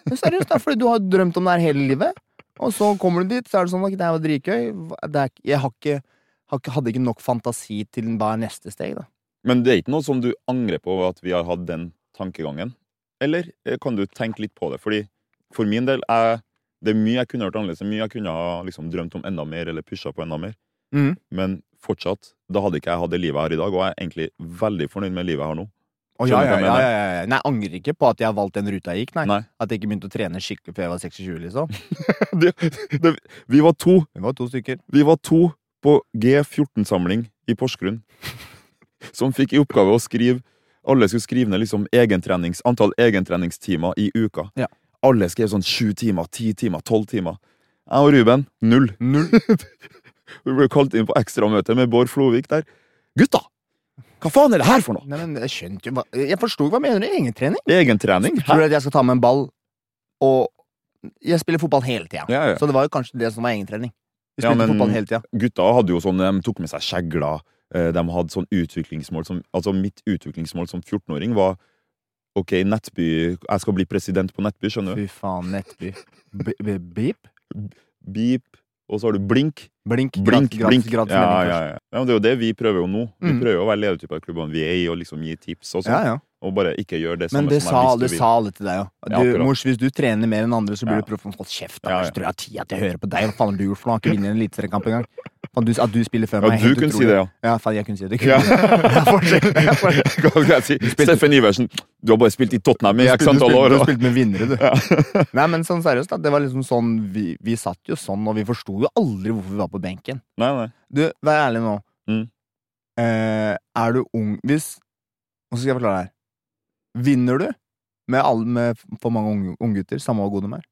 Speaker 2: Men seriøst, det er fordi du har drømt om det her hele livet. Og så kommer du dit, så er det sånn at det her var dritgøy. Hva- Det er, ikke- jeg har ikke har ikke- hadde ikke nok fantasi til hva er neste steg, da.
Speaker 1: Men det er ikke noe som du angrer på at vi har hatt den tankegangen? Eller eh, kan du tenke litt på det? Fordi for min del er det er mye jeg kunne hørt annerledes, det er mye jeg kunne ha liksom, drømt om enda mer, eller pusha på enda mer.
Speaker 2: Mhm.
Speaker 1: Men fortsatt, da hadde ikke jeg hatt det livet jeg har i dag, og jeg er egentlig veldig fornøyd med livet jeg har nå.
Speaker 2: Å,
Speaker 1: Skjønner
Speaker 2: ja,
Speaker 1: du
Speaker 2: ja,
Speaker 1: hva jeg
Speaker 2: ja,
Speaker 1: mener?
Speaker 2: ja, ja. Nei, jeg angrer ikke på at jeg har valgt den ruta jeg gikk, nei.
Speaker 1: Nei.
Speaker 2: At jeg ikke begynte å trene skikkelig før jeg var 26, liksom.
Speaker 1: Det, det, vi var to
Speaker 2: Vi var to stykker.
Speaker 1: Vi var to på G14-samling i Porsgrunn som fikk i oppgave å skrive Alle skulle skrive ned liksom egentrenings, antall egentreningstimer i uka.
Speaker 2: Ja.
Speaker 1: Alle skrev sånn sju timer, ti timer, tolv timer. Jeg og Ruben null. Vi ble kalt inn på ekstramøte med Bård Flovik der. Gutta! Hva faen er det her for noe?
Speaker 2: Nei, men jeg skjønte jo hva Jeg forsto hva mener du med egentrening?
Speaker 1: Egentrening?
Speaker 2: Tror du at jeg skal ta med en ball og Jeg spiller fotball hele tida,
Speaker 1: Ja, ja.
Speaker 2: så det var jo kanskje det som var egentrening. Vi
Speaker 1: Ja,
Speaker 2: spilte
Speaker 1: men-
Speaker 2: fotball hele tida.
Speaker 1: gutta hadde jo sånn, de tok med seg skjegler, eh, de hadde sånn utviklingsmål som, altså mitt utviklingsmål som 14-åring var, ok, Nettby, jeg skal bli president på Nettby, skjønner du?
Speaker 2: Fy faen, Nettby. B- b- Beep?
Speaker 1: Beep, og så har du blink,
Speaker 2: Blink.
Speaker 1: blink,
Speaker 2: gratis,
Speaker 1: blink.
Speaker 2: Gratis, gratis
Speaker 1: ja,
Speaker 2: melding
Speaker 1: ja,
Speaker 2: først.
Speaker 1: ja. ja, men det er jo det vi prøver jo nå. Vi
Speaker 2: Mm.
Speaker 1: prøver jo å være ledertype av klubbene vi er i, og liksom gi tips og sånn,
Speaker 2: Ja, ja.
Speaker 1: og bare ikke gjøre det
Speaker 2: Men
Speaker 1: samme
Speaker 2: det
Speaker 1: som
Speaker 2: sa,
Speaker 1: jeg
Speaker 2: det
Speaker 1: visste du
Speaker 2: sa alle til deg, jo.
Speaker 1: Ja,
Speaker 2: Du,
Speaker 1: akkurat.
Speaker 2: mors, hvis du trener mer enn andre, så blir
Speaker 1: Ja.
Speaker 2: du proff. Hold kjeft, da.
Speaker 1: Ja, ja.
Speaker 2: Ellers tror jeg ti at jeg hører på deg. Hva faen har du gjort for noe? Har ikke vunnet en eliteseriekamp engang. Faen, du- At du spiller før
Speaker 1: Ja,
Speaker 2: meg.
Speaker 1: du
Speaker 2: er helt
Speaker 1: kunne si
Speaker 2: utrolig.
Speaker 1: det, ja.
Speaker 2: Ja, faen, jeg kunne si det. Du
Speaker 1: Ja.
Speaker 2: kunne.
Speaker 1: vil. Hva skal jeg si? Steffen Iversen, du har bare spilt i Tottenham i
Speaker 2: Du
Speaker 1: x antall
Speaker 2: spilte-
Speaker 1: år.
Speaker 2: Du
Speaker 1: og-
Speaker 2: spilte med vinnere, du. Nei, men sånn seriøst, da. Det var liksom sånn Vi, vi satt jo sånn, og vi forsto jo aldri hvorfor vi var på benken.
Speaker 1: Nei, nei.
Speaker 2: Du, vær ærlig nå.
Speaker 1: Mm.
Speaker 2: Eh, er du ung Hvis Hvordan skal jeg forklare det her? Vinner du med, alle, med for mange unge- unggutter, samme hvor god de er?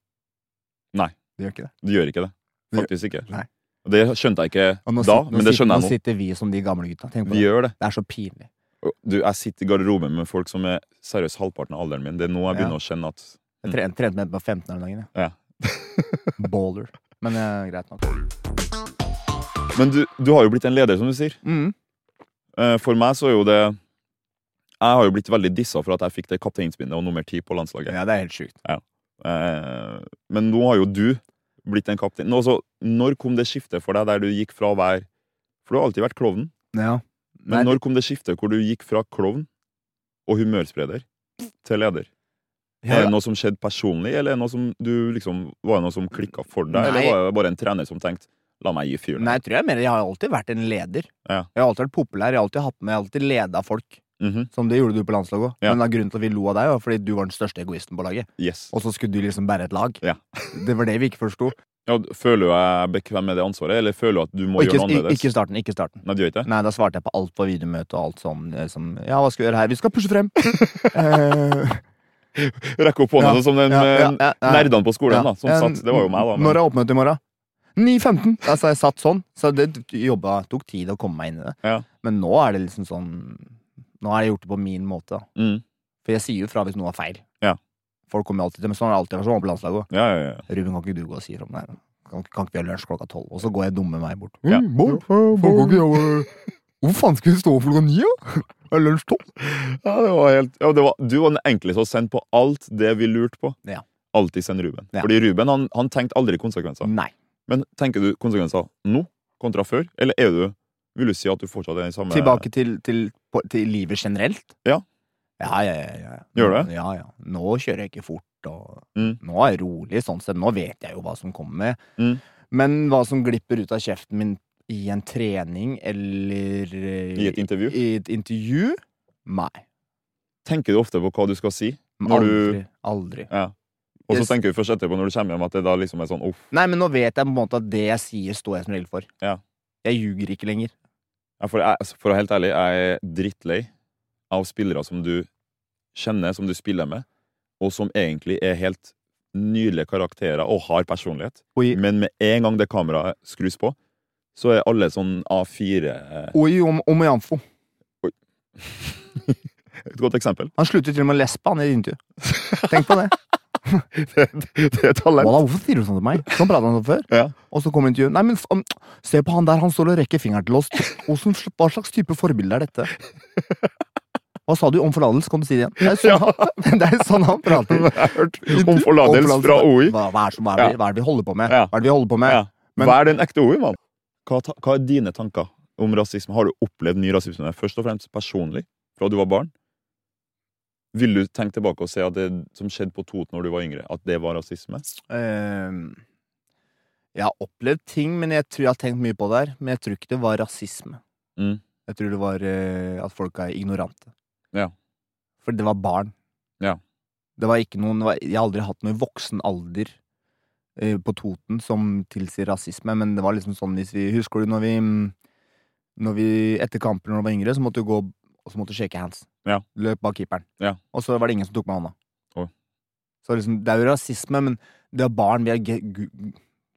Speaker 1: Nei.
Speaker 2: Du gjør ikke det.
Speaker 1: Du gjør ikke det.
Speaker 2: Du-
Speaker 1: Faktisk ikke.
Speaker 2: Nei.
Speaker 1: Og Det skjønte jeg
Speaker 2: Og nå
Speaker 1: ikke da,
Speaker 2: sit- nå
Speaker 1: men det
Speaker 2: sit-
Speaker 1: skjønner jeg
Speaker 2: Nå
Speaker 1: nå.
Speaker 2: sitter vi som de gamle gutta. Tenk på
Speaker 1: Vi
Speaker 2: det.
Speaker 1: gjør det.
Speaker 2: Det er så pinlig.
Speaker 1: Du, jeg sitter i garderoben med folk som er seriøst halvparten av alderen min. Det er nå jeg begynner å kjenne at
Speaker 2: Jeg trente, trente med på 15 år dagen.
Speaker 1: ja.
Speaker 2: jeg. Baller. Men eh, greit nok.
Speaker 1: Men du, du har jo blitt en leder, som du sier.
Speaker 2: Mm.
Speaker 1: Eh, For meg så er jo det Jeg har jo blitt veldig dissa for at jeg fikk det kapteinsbindet og nummer ti på landslaget.
Speaker 2: Ja, det er helt sjukt.
Speaker 1: Eh, Men nå har jo du blitt en kaptein. Nå, altså, når kom det skiftet for deg der du gikk fra å være For du har alltid vært klovnen.
Speaker 2: Ja.
Speaker 1: Men
Speaker 2: Nei,
Speaker 1: når kom det skiftet hvor du gikk fra klovn og humørspreder til leder? Er
Speaker 2: ja,
Speaker 1: det noe som skjedde personlig, eller er det noe som du liksom, var det noe som klikka for deg?
Speaker 2: Nei.
Speaker 1: Eller var det bare en trener som tenkte 'la meg gi fyren'?
Speaker 2: Nei, jeg tror jeg mer Jeg har alltid vært en leder.
Speaker 1: Ja.
Speaker 2: Jeg har alltid vært populær. Jeg har alltid hatt med, jeg har alltid leda folk.
Speaker 1: Mhm,
Speaker 2: Som det gjorde du på landslaget òg.
Speaker 1: Ja.
Speaker 2: Men da grunnen til at vi lo av deg, var fordi du var den største egoisten på laget.
Speaker 1: Yes.
Speaker 2: Og så skulle du liksom bære et lag.
Speaker 1: Ja.
Speaker 2: Det var det vi ikke forsto.
Speaker 1: Ja, føler du deg bekvem med det ansvaret, eller føler du at du må
Speaker 2: Og ikke,
Speaker 1: gjøre noe
Speaker 2: i-
Speaker 1: annerledes?
Speaker 2: ikke starten. ikke starten
Speaker 1: Nei, du gjør ikke det?
Speaker 2: Nei, da svarte jeg på alt på videomøte og alt sånn. eh, Som, ja, hva skal vi gjøre her? Vi skal pushe frem! Eh,
Speaker 1: Rekke opp hånda
Speaker 2: Ja,
Speaker 1: sånn som den
Speaker 2: ja,
Speaker 1: eh,
Speaker 2: ja, ja, ja.
Speaker 1: nerdene på skolen, da,
Speaker 2: ja.
Speaker 1: som
Speaker 2: Eh,
Speaker 1: satt. Det var jo meg, da.
Speaker 2: Når
Speaker 1: Men,
Speaker 2: er oppmøtet i morgen? 9.15! Altså, jeg satt sånn. Så det jobba, tok tid å komme meg inn i det.
Speaker 1: Ja.
Speaker 2: Men nå er det liksom sånn Nå har jeg gjort det på min måte. da
Speaker 1: mm,
Speaker 2: For jeg sier jo fra hvis noe er feil.
Speaker 1: Ja.
Speaker 2: Folk kommer jo alltid til Men sånn har det alltid vært sånn på landslaget òg.
Speaker 1: ja, ja, ja.
Speaker 2: Ruben, kan ikke du gå og si fra om det her? Kan, kan ikke vi ha lunsj klokka tolv? Og så går jeg dumme meg bort.
Speaker 1: Ja.
Speaker 2: Mm, Bård, Bård, kan ikke jeg, eh, Hvor faen skal vi stå opp klokka ni, da? Er lunsj tolv?
Speaker 1: ja, det var helt ja, det var, Du var den enkleste å sende på alt det vi lurte på.
Speaker 2: Ja.
Speaker 1: Alltid send Ruben.
Speaker 2: Ja.
Speaker 1: Fordi Ruben han, han tenkte aldri konsekvenser.
Speaker 2: Nei.
Speaker 1: Men tenker du konsekvenser nå kontra før, eller er du vil du si at du fortsatt er i samme
Speaker 2: Tilbake til, til, på, til livet generelt?
Speaker 1: Ja.
Speaker 2: Ja, ja, ja, ja. ja.
Speaker 1: Gjør du
Speaker 2: Ja, ja. Nå kjører jeg ikke fort, og
Speaker 1: Mm.
Speaker 2: nå er jeg rolig sånn sett. Nå vet jeg jo hva som kommer.
Speaker 1: Mm.
Speaker 2: Men hva som glipper ut av kjeften min i en trening eller eh,
Speaker 1: I et intervju?
Speaker 2: I et intervju? Nei.
Speaker 1: Tenker du ofte på hva du skal si? Når
Speaker 2: Mm, aldri.
Speaker 1: du-
Speaker 2: Aldri.
Speaker 1: Ja. Og så
Speaker 2: Yes.
Speaker 1: tenker du først etterpå når du kommer hjem at det da liksom er sånn uff.
Speaker 2: Nei, men nå vet jeg på en måte at det jeg sier, står jeg som regel for.
Speaker 1: Ja.
Speaker 2: Jeg ljuger ikke lenger.
Speaker 1: Ja, For, jeg, for å være helt ærlig, jeg er drittlei av spillere som du kjenner, som du spiller med, og som egentlig er helt nydelige karakterer og har personlighet.
Speaker 2: Og i,
Speaker 1: Men med en gang det kameraet skrus på, så er alle sånn A4 eh,
Speaker 2: og i om, om Jamfo.
Speaker 1: Et godt eksempel.
Speaker 2: Han slutter til og med å lespe, han i et intervju. Tenk på det.
Speaker 1: det, det er talent.
Speaker 2: Walla, hvorfor sier du sånn til meg? Sånn pratet han sånn før.
Speaker 1: Ja.
Speaker 2: Og så kom intervjuet. Nei, men faen, se på han der, han står og rekker fingeren til oss. Hvordan, hva slags type forbilde er dette? Hva sa du om forlatelse? Kan du si det igjen? Det er sånn, han, det er sånn han prater.
Speaker 1: Jeg har hørt om forlatelse fra OI.
Speaker 2: Hva, hva, er, som- hva, er, det- hva er det vi holder på med?
Speaker 1: Ja.
Speaker 2: Hva er det vi holder på med?
Speaker 1: Ja.
Speaker 2: Men-
Speaker 1: Hva er den ekte OI, mann? Hva, ta- hva er dine tanker om rasisme. Har du opplevd ny rasisme først og fremst personlig fra du var barn? Vil du tenke tilbake og se at det som skjedde på Toten når du var yngre, at det var rasisme?
Speaker 2: Ehm, jeg har opplevd ting, men jeg tror jeg har tenkt mye på det her. Men jeg tror ikke det var rasisme.
Speaker 1: Mm.
Speaker 2: Jeg tror det var eh, at folk er ignorante.
Speaker 1: Ja.
Speaker 2: For det var barn.
Speaker 1: Ja.
Speaker 2: Det var ikke noen det var, Jeg har aldri hatt noe i voksen alder eh, på Toten som tilsier rasisme, men det var liksom sånn hvis vi Husker du når vi, mm, når vi etter kampen når vi var yngre, så måtte du gå og så måtte du shake hands.
Speaker 1: Ja.
Speaker 2: Løp bak keeperen.
Speaker 1: Ja.
Speaker 2: Og så var det ingen som tok meg i hånda.
Speaker 1: Oi.
Speaker 2: Så liksom, det er jo rasisme, men det er barn. Vi er ge- gu-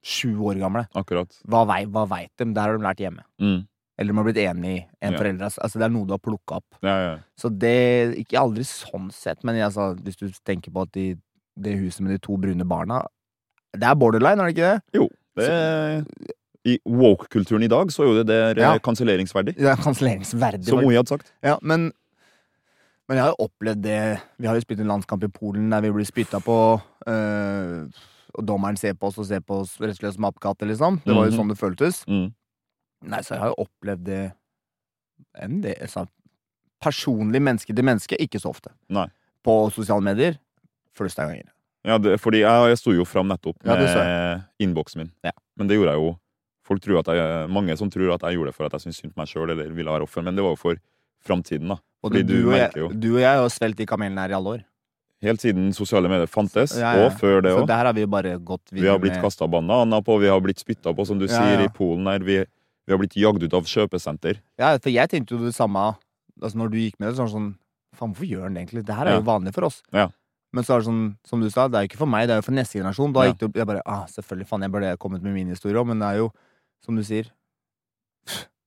Speaker 2: sju år gamle.
Speaker 1: Akkurat.
Speaker 2: Hva, vei, hva veit de? Det har de lært hjemme.
Speaker 1: Mm.
Speaker 2: Eller de har blitt enig i en
Speaker 1: Ja.
Speaker 2: forelder. Altså, det er noe du har plukka opp.
Speaker 1: Ja, ja.
Speaker 2: Så det Ikke aldri sånn sett, men jeg, altså, hvis du tenker på at de, det huset med de to brune barna Det er borderline, er det ikke det?
Speaker 1: Jo. Det, I woke-kulturen i dag så er jo det der eh,
Speaker 2: Ja.
Speaker 1: kanselleringsverdig.
Speaker 2: Det er kanselleringsverdig.
Speaker 1: Som
Speaker 2: faktisk.
Speaker 1: Oi hadde sagt.
Speaker 2: Ja, men, men jeg har jo opplevd det Vi har jo spilt en landskamp i Polen der vi blir spytta på. øh, og dommeren ser på oss og ser på oss rett og slett som apekatter, liksom. Det var jo
Speaker 1: Mhm.
Speaker 2: sånn det føltes.
Speaker 1: Mm.
Speaker 2: Nei, så jeg har jo opplevd det en del altså, Personlig menneske til menneske, ikke så ofte.
Speaker 1: Nei.
Speaker 2: På sosiale medier flust av ganger.
Speaker 1: Ja, det, fordi jeg, jeg sto jo fram nettopp
Speaker 2: Ja,
Speaker 1: med
Speaker 2: det så
Speaker 1: innboksen min.
Speaker 2: Ja.
Speaker 1: Men det gjorde jeg jo folk tror at jeg, Mange som tror at jeg gjorde det for at jeg syntes synd på meg sjøl eller ville være offer, men det var jo for framtiden, da.
Speaker 2: Og
Speaker 1: Fordi
Speaker 2: du,
Speaker 1: du
Speaker 2: og jeg,
Speaker 1: merker jo.
Speaker 2: du og jeg har jo svelget de kamelene her i alle år.
Speaker 1: Helt siden sosiale medier fantes,
Speaker 2: Ja, ja.
Speaker 1: og før det
Speaker 2: Så
Speaker 1: òg.
Speaker 2: der har vi jo bare gått
Speaker 1: Vi har blitt
Speaker 2: med-
Speaker 1: kasta bananer på, vi har blitt spytta på, som du
Speaker 2: Ja,
Speaker 1: sier,
Speaker 2: ja.
Speaker 1: i Polen her. Vi, vi har blitt jagd ut av kjøpesenter.
Speaker 2: Ja, for jeg tenkte jo det samme altså når du gikk med det. så var det sånn, Faen, hvorfor gjør han det egentlig? Det her er
Speaker 1: Ja.
Speaker 2: jo vanlig for oss.
Speaker 1: Ja.
Speaker 2: Men så er det sånn, som du sa, det er jo ikke for meg, det er jo for neste generasjon. Da
Speaker 1: Ja.
Speaker 2: gikk det opp, jeg bare, ah, selvfølgelig, faen, jeg burde kommet med min historie òg, men det er jo, som du sier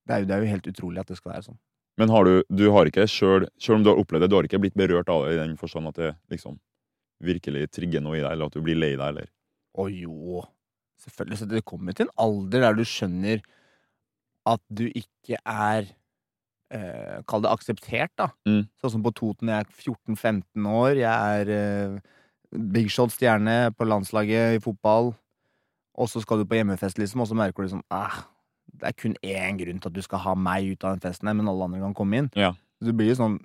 Speaker 2: det er, jo, det er jo helt utrolig at det skal være sånn.
Speaker 1: Men har du, du har ikke sjøl, sjøl om du har opplevd det, du har ikke blitt berørt av det i den forstand at det liksom virkelig trigger noe i deg, eller at du blir lei deg, eller
Speaker 2: Å jo, selvfølgelig. Så det kommer til en alder der du skjønner at du ikke er eh, Kall det akseptert, da.
Speaker 1: Mm.
Speaker 2: Sånn som på Toten, jeg er 14-15 år, jeg er eh, big shot-stjerne på landslaget i fotball, og så skal du på hjemmefest, liksom, og så merker du liksom ah, Det er kun én grunn til at du skal ha meg ut av den festen, her, men alle andre kan komme inn.
Speaker 1: Ja.
Speaker 2: Så du blir jo sånn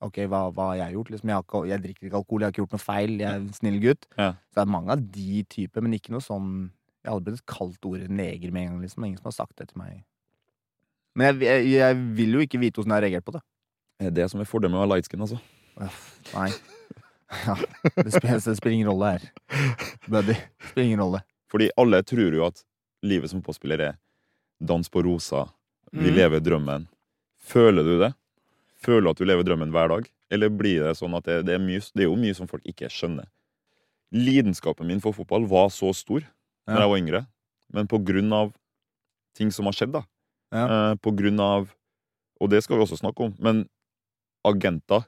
Speaker 2: Ok, hva, hva har jeg gjort? Liksom, jeg, har ikke, jeg drikker ikke alkohol, jeg har ikke gjort noe feil, jeg er en snill gutt. Så det er mange av de typer, men ikke noe sånn Jeg hadde blitt kalt ordet neger med en gang, liksom. og Ingen som har sagt det til meg. Men jeg, jeg, jeg vil jo ikke vite åssen jeg har reagert på det.
Speaker 1: Det er det som er fordelen med å være lightskin, altså.
Speaker 2: Uff, Nei. Ja, det, spiller, det spiller ingen rolle her. Buddy. Det spiller ingen rolle.
Speaker 1: Fordi alle tror jo at livet som fotballspiller er dans på rosa, vi
Speaker 2: Mhm.
Speaker 1: lever drømmen. Føler du det? Føler du at du lever drømmen hver dag? Eller blir det sånn at det, det, er, mye, det er jo mye som folk ikke skjønner. Lidenskapen min for fotball var så stor da
Speaker 2: Ja.
Speaker 1: jeg var yngre, men på grunn av ting som har skjedd, da.
Speaker 2: Ja.
Speaker 1: Eh, på grunn av Og det skal vi også snakke om, men agenter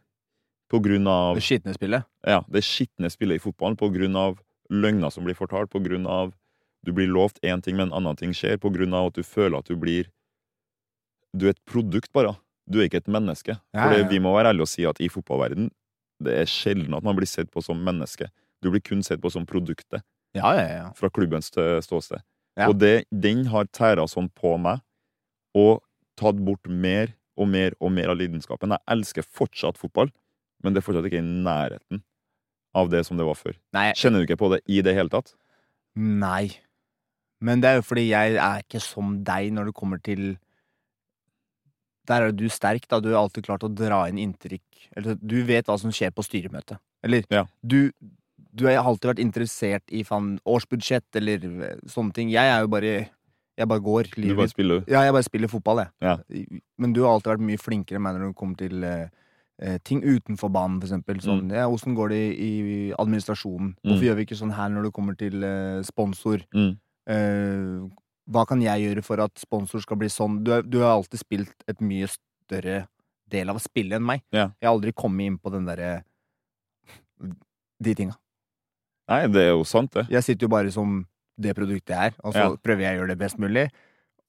Speaker 1: på grunn av
Speaker 2: Det skitne spillet.
Speaker 1: ja, det skitne spillet i fotballen på grunn av løgner som blir fortalt, på grunn av du blir lovt én ting, men en annen ting skjer, på grunn av at du føler at du blir Du er et produkt, bare. Du er ikke et menneske.
Speaker 2: Ja,
Speaker 1: For
Speaker 2: ja, ja.
Speaker 1: det, vi må være ærlige og si at i fotballverden, det er sjelden at man blir sett på som menneske. Du blir kun sett på som produktet
Speaker 2: Ja, ja, ja.
Speaker 1: fra klubbens stø- ståsted.
Speaker 2: Ja.
Speaker 1: Og det, den har tæra sånn på meg, og tatt bort mer og mer og mer av lidenskapen. Jeg elsker fortsatt fotball, men det er fortsatt ikke i nærheten av det som det var før.
Speaker 2: Nei.
Speaker 1: Kjenner du ikke på det i det hele tatt?
Speaker 2: Nei. Men det er jo fordi jeg er ikke som deg når det kommer til Der er jo du sterk, da. Du har alltid klart å dra inn inntrykk. Eller du vet hva som skjer på styremøtet. Eller
Speaker 1: Ja.
Speaker 2: du, du har alltid vært interessert i faen årsbudsjett eller eh, sånne ting. Jeg er jo bare Jeg bare går.
Speaker 1: Du
Speaker 2: Livet
Speaker 1: bare spiller, du.
Speaker 2: ja, jeg bare spiller fotball, jeg.
Speaker 1: Ja.
Speaker 2: Men du har alltid vært mye flinkere enn meg når det kommer til eh, eh, ting utenfor banen, for eksempel. Sånn, ja, hvordan går det i, i administrasjonen?
Speaker 1: Mm.
Speaker 2: Hvorfor gjør vi ikke sånn her når det kommer til eh, sponsor?
Speaker 1: Mm.
Speaker 2: Eh, hva kan jeg gjøre for at sponsor skal bli sånn? Du, er, du har alltid spilt et mye større del av spillet enn meg.
Speaker 1: Ja.
Speaker 2: Jeg har aldri kommet inn på den derre De tinga.
Speaker 1: Nei, det er jo sant, det.
Speaker 2: Jeg sitter jo bare som det produktet jeg er, og så
Speaker 1: Ja.
Speaker 2: prøver jeg å gjøre det best mulig.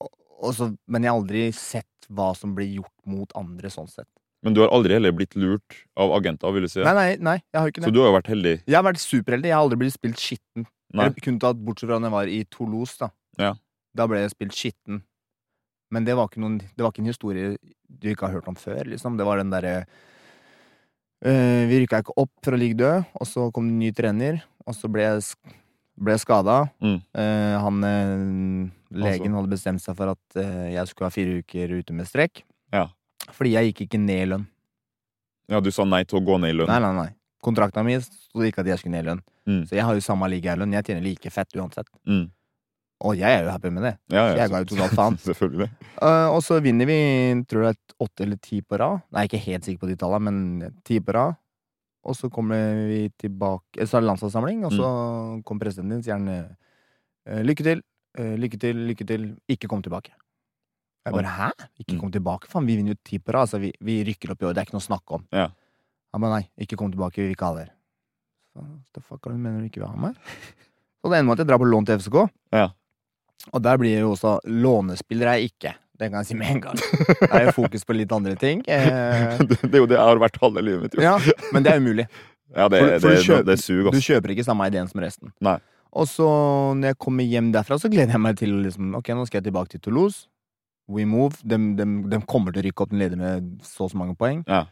Speaker 2: Og, og så, men jeg har aldri sett hva som blir gjort mot andre sånn sett.
Speaker 1: Men du har aldri heller blitt lurt av agenter, vil du si.
Speaker 2: Nei,
Speaker 1: det?
Speaker 2: nei, nei, jeg har jo ikke
Speaker 1: Så
Speaker 2: det.
Speaker 1: du har jo vært heldig.
Speaker 2: Jeg har vært superheldig. Jeg har aldri blitt spilt skitten.
Speaker 1: Nei.
Speaker 2: Eller Kun tatt bortsett fra når jeg var i Toulouse, da.
Speaker 1: Ja.
Speaker 2: Da ble jeg spilt skitten. Men det var ikke, noen, det var ikke en historie du ikke har hørt om før. Liksom. Det var den derre eh, Vi rykka ikke opp fra Ligg død, og så kom det en ny trener, og så ble jeg, sk- ble jeg skada.
Speaker 1: Mm.
Speaker 2: Eh, han eh,
Speaker 1: Altså.
Speaker 2: legen hadde bestemt seg for at eh, jeg skulle ha fire uker ute med strekk.
Speaker 1: Ja.
Speaker 2: Fordi jeg gikk ikke ned i lønn.
Speaker 1: Ja, du sa nei til å gå ned i lønn.
Speaker 2: Nei, nei, nei. Kontrakta mi sto ikke at jeg skulle ned i lønn.
Speaker 1: Mm.
Speaker 2: Så jeg har jo samme ligalønn. Jeg tjener like fett uansett.
Speaker 1: Mm.
Speaker 2: Og jeg er jo happy med det.
Speaker 1: Ja, ja,
Speaker 2: Jeg ga jo totalt faen.
Speaker 1: Selvfølgelig.
Speaker 2: Eh, og så vinner vi tror jeg åtte eller ti på rad. Nei, ikke helt sikker på de tallene, men ti på rad. Og så kommer vi tilbake eh, Så er det landslagssamling, og så
Speaker 1: Mm.
Speaker 2: kom presidenten din og sier han eh, lykke til, eh, lykke til, lykke til, ikke kom tilbake. Jeg bare hæ?
Speaker 1: mm.
Speaker 2: Ikke kom tilbake? Faen, vi vinner jo ti på rad. Altså, vi, vi rykker opp i år, det er ikke noe å snakke om.
Speaker 1: Ja.
Speaker 2: Han bare nei, ikke kom tilbake, vi vil ikke ha dere. Så, What the fuck er det du mener du ikke vil ha meg? Så det ender med at jeg drar på lån til FCK.
Speaker 1: Ja.
Speaker 2: Og der blir jeg jo også lånespiller er jeg ikke. Det kan jeg si med en gang. Det er jo fokus på litt andre ting. Eh,
Speaker 1: Det, det er jo det jeg har vært halve livet mitt, jo.
Speaker 2: ja, men det er umulig.
Speaker 1: Ja, det,
Speaker 2: For- for
Speaker 1: det,
Speaker 2: du kjøper-
Speaker 1: det suger,
Speaker 2: Du
Speaker 1: ass.
Speaker 2: kjøper ikke samme ideen som resten.
Speaker 1: Nei.
Speaker 2: Og så når jeg kommer hjem derfra, så gleder jeg meg til liksom, Ok, nå skal jeg tilbake til Toulouse. We move. De, kommer til å rykke opp. Den leder med så og så mange poeng.
Speaker 1: Ja.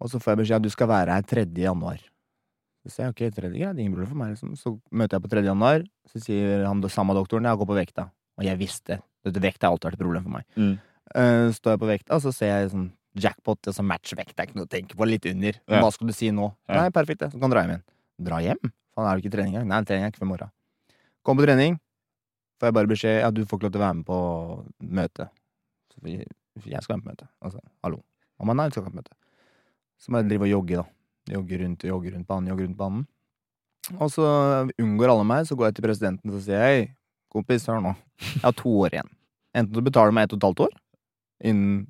Speaker 2: Og så får jeg beskjed at du skal være her 3. januar. Så sier jeg ok, 3. greit, ingen problem for meg. Liksom. Så møter jeg på 3. januar, så sier han do- samme doktoren jeg har gått på vekta. Og jeg visste. Dette vekta har alltid vært et problem for meg.
Speaker 1: Mm.
Speaker 2: Eh, står jeg på vekta, så ser jeg sånn jackpot, det er sånn matchvekt, det er ikke noe å tenke på, litt under.
Speaker 1: Ja.
Speaker 2: Hva skal du si nå?
Speaker 1: Ja.
Speaker 2: Nei, perfekt, det. Så kan du dra hjem igjen. Dra hjem? Faen, er det ikke trening engang? Nei, trening er ikke før i morgen. Kom på trening, får jeg bare beskjed ja, du får ikke lov til å være med på møte. Så vi- Jeg skal være med på møte. Altså, hallo. Han bare nei, du skal ikke være med på møte. Så må jeg drive og jogge, da. Jogge rundt, jogge rundt banen, jogge rundt banen. Og så unngår alle meg, så går jeg til presidenten og sier jeg, hei, kompis, hør nå. Jeg har to år igjen. Enten du betaler meg ett og et halvt år, innen,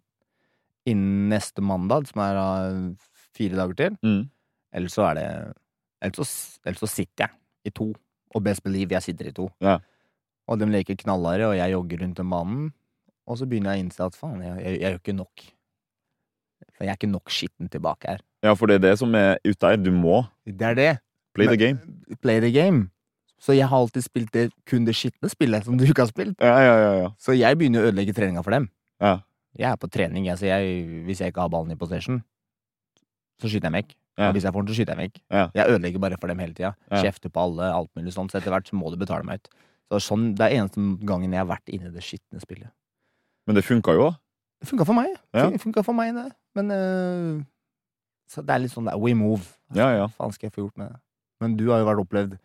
Speaker 2: innen neste mandag, som er da fire dager til,
Speaker 1: Mm.
Speaker 2: eller så er det Eller så, eller så sitter jeg i to. Og best believe, jeg sitter i to.
Speaker 1: Ja.
Speaker 2: Og de leker knallharde, og jeg jogger rundt den banen. Og så begynner jeg å innse at faen, jeg, jeg, jeg gjør ikke nok. For jeg er ikke nok skitten tilbake her.
Speaker 1: Ja, for det er det som er ute her. Du må
Speaker 2: Det er det.
Speaker 1: play the
Speaker 2: Men-
Speaker 1: game.
Speaker 2: Play the game. Så jeg har alltid spilt det kun det skitne spillet som du ikke har spilt.
Speaker 1: Ja, ja, ja. ja.
Speaker 2: Så jeg begynner å ødelegge treninga for dem.
Speaker 1: ja.
Speaker 2: Jeg er på trening, jeg, så jeg, hvis jeg ikke har ballen i possession, så skyter jeg meg vekk.
Speaker 1: Ja.
Speaker 2: Og hvis jeg får den, så skyter jeg meg vekk.
Speaker 1: Ja.
Speaker 2: Jeg ødelegger bare for dem hele tida.
Speaker 1: Ja.
Speaker 2: Kjefter på alle, alt mulig sånt. Så etter hvert så må du betale meg ut. Så sånn, Det er eneste gangen jeg har vært inne i det skitne spillet.
Speaker 1: Men det funka jo òg.
Speaker 2: Det funka for meg.
Speaker 1: Ja.
Speaker 2: Fun- Funka for meg, det. Men øh, Så det er litt sånn der we move.
Speaker 1: Ja, ja.
Speaker 2: Hva faen skal jeg få gjort med det? Men du har jo vært opplevd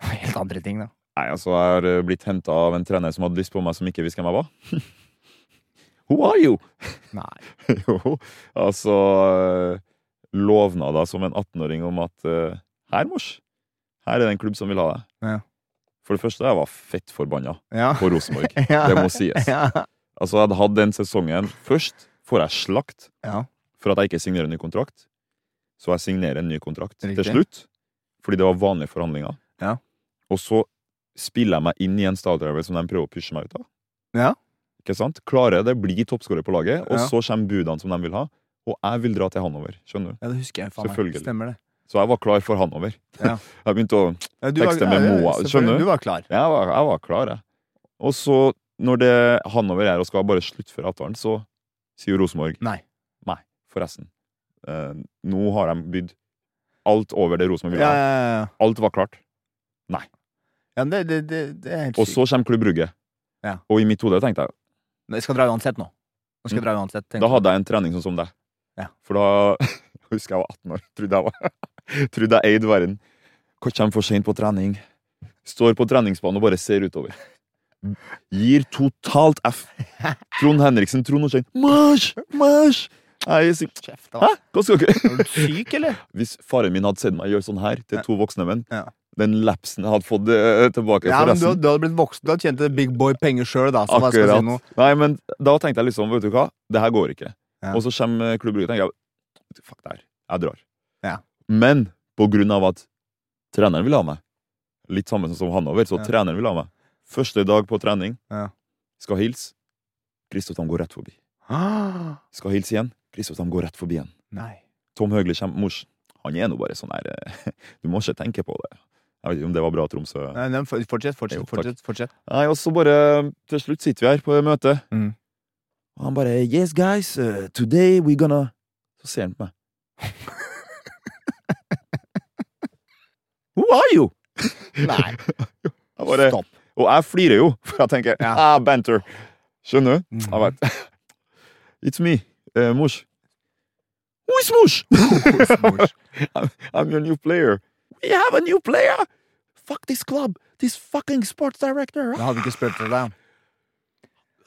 Speaker 2: helt andre ting, da.
Speaker 1: Nei, altså, jeg har eh, blitt henta av en trener som hadde lyst på meg, som ikke visste hvem jeg var. Who are you?
Speaker 2: Nei.
Speaker 1: jo, altså eh, Lovnader som en 18-åring om at eh, her, mors, her er det en klubb som vil ha deg.
Speaker 2: Ja.
Speaker 1: For det første, jeg var fett forbanna
Speaker 2: Ja.
Speaker 1: på Rosenborg.
Speaker 2: Ja.
Speaker 1: Det må sies.
Speaker 2: Ja.
Speaker 1: Altså, jeg hadde hatt den sesongen Først får jeg slakt
Speaker 2: ja.
Speaker 1: for at jeg ikke signerer en ny kontrakt. Så jeg signerer en ny kontrakt
Speaker 2: Riktig.
Speaker 1: til slutt, fordi det var vanlige forhandlinger.
Speaker 2: Ja.
Speaker 1: Og så spiller jeg meg inn i en stadion som de prøver å pushe meg ut av.
Speaker 2: Ja.
Speaker 1: Ikke sant? Klarer det, blir toppskårer på laget, og
Speaker 2: Ja.
Speaker 1: så kommer budene som de vil ha. Og jeg vil dra til Hanover. skjønner du?
Speaker 2: Ja, det husker jeg. faen meg.
Speaker 1: Selvfølgelig.
Speaker 2: Stemmer det.
Speaker 1: Så jeg var klar for Hanover.
Speaker 2: Ja.
Speaker 1: Jeg begynte å
Speaker 2: Ja, du
Speaker 1: Tekster med
Speaker 2: ja, ja,
Speaker 1: Moa,
Speaker 2: selvfølgelig.
Speaker 1: skjønner du?
Speaker 2: Du var klar.
Speaker 1: Jeg var, jeg var klar, jeg. Og så, når det Hanover er og skal bare sluttføre avtalen, så sier Rosenborg
Speaker 2: Nei.
Speaker 1: Nei, forresten. Eh, nå har de bydd alt over det Rosenborg ville
Speaker 2: Ja,
Speaker 1: ha.
Speaker 2: ja, ja.
Speaker 1: Alt var klart.
Speaker 2: ja men det, det, det, det er helt
Speaker 1: Og
Speaker 2: sykt.
Speaker 1: så kommer Klubb Brugge.
Speaker 2: Ja.
Speaker 1: Og i mitt hode tenkte jeg
Speaker 2: Men Jeg skal dra uansett nå. Nå skal jeg dra uansett. tenkte
Speaker 1: Mm. Da hadde jeg en trening sånn som deg.
Speaker 2: Ja.
Speaker 1: For da husker jeg var 18 år. Trodde jeg var Trodde jeg eide verden. Kommer for seint på trening. Står på treningsbanen og bare ser utover. Gir totalt F. Trond Henriksen, Trond Norstein Mars! Mars! Jeg sier
Speaker 2: jeg. Kjeft, da.
Speaker 1: Hæ? Hva skal dere
Speaker 2: Er du syk, eller?
Speaker 1: Hvis faren min hadde sett meg gjøre sånn her til to voksne menn,
Speaker 2: Ja.
Speaker 1: den lapsen jeg hadde fått eh, tilbake
Speaker 2: Ja, men du,
Speaker 1: forresten
Speaker 2: du hadde blitt voksen. Du hadde tjent big boy penger sjøl, da. Så hva skal jeg si nå?
Speaker 1: Nei, men da tenkte jeg liksom, vet du hva, det her går ikke.
Speaker 2: Ja.
Speaker 1: Og så kommer Klubb Brygge og tenker jeg, fuck det her, jeg drar.
Speaker 2: Ja.
Speaker 1: Men på grunn av at treneren vil ha meg, litt samme som Hanover, så
Speaker 2: Ja.
Speaker 1: treneren vil ha meg. Første dag på trening,
Speaker 2: Ja.
Speaker 1: skal hilse, Kristoff han går rett forbi.
Speaker 2: Ah,
Speaker 1: Skal hilse igjen, Kristoff han går rett forbi igjen.
Speaker 2: Nei.
Speaker 1: Tom Høgli kommer, mors, han er nå bare sånn her, eh, du må ikke tenke på det. Jeg vet ikke om det var bra, Tromsø.
Speaker 2: Nei, nei, for- Fortsett, fortsett,
Speaker 1: Jo, takk.
Speaker 2: fortsett. fortsett.
Speaker 1: Nei, og så bare Til slutt sitter vi her på møtet.
Speaker 2: Mm.
Speaker 1: Og han bare Yes, guys, uh, today we're gonna Så ser han på meg. Who are you?
Speaker 2: Nei.
Speaker 1: Jeg bare,
Speaker 2: Stopp.
Speaker 1: Og jeg flirer jo, for jeg tenker
Speaker 2: Ja. Mm.
Speaker 1: ah, banter. Skjønner du? Jeg vet. It's me, eh, mors. Who is mors? I'm, I'm your new player. We have a new player! Fuck this club! This fucking sports director!
Speaker 2: Jeg hadde ikke spurt til deg.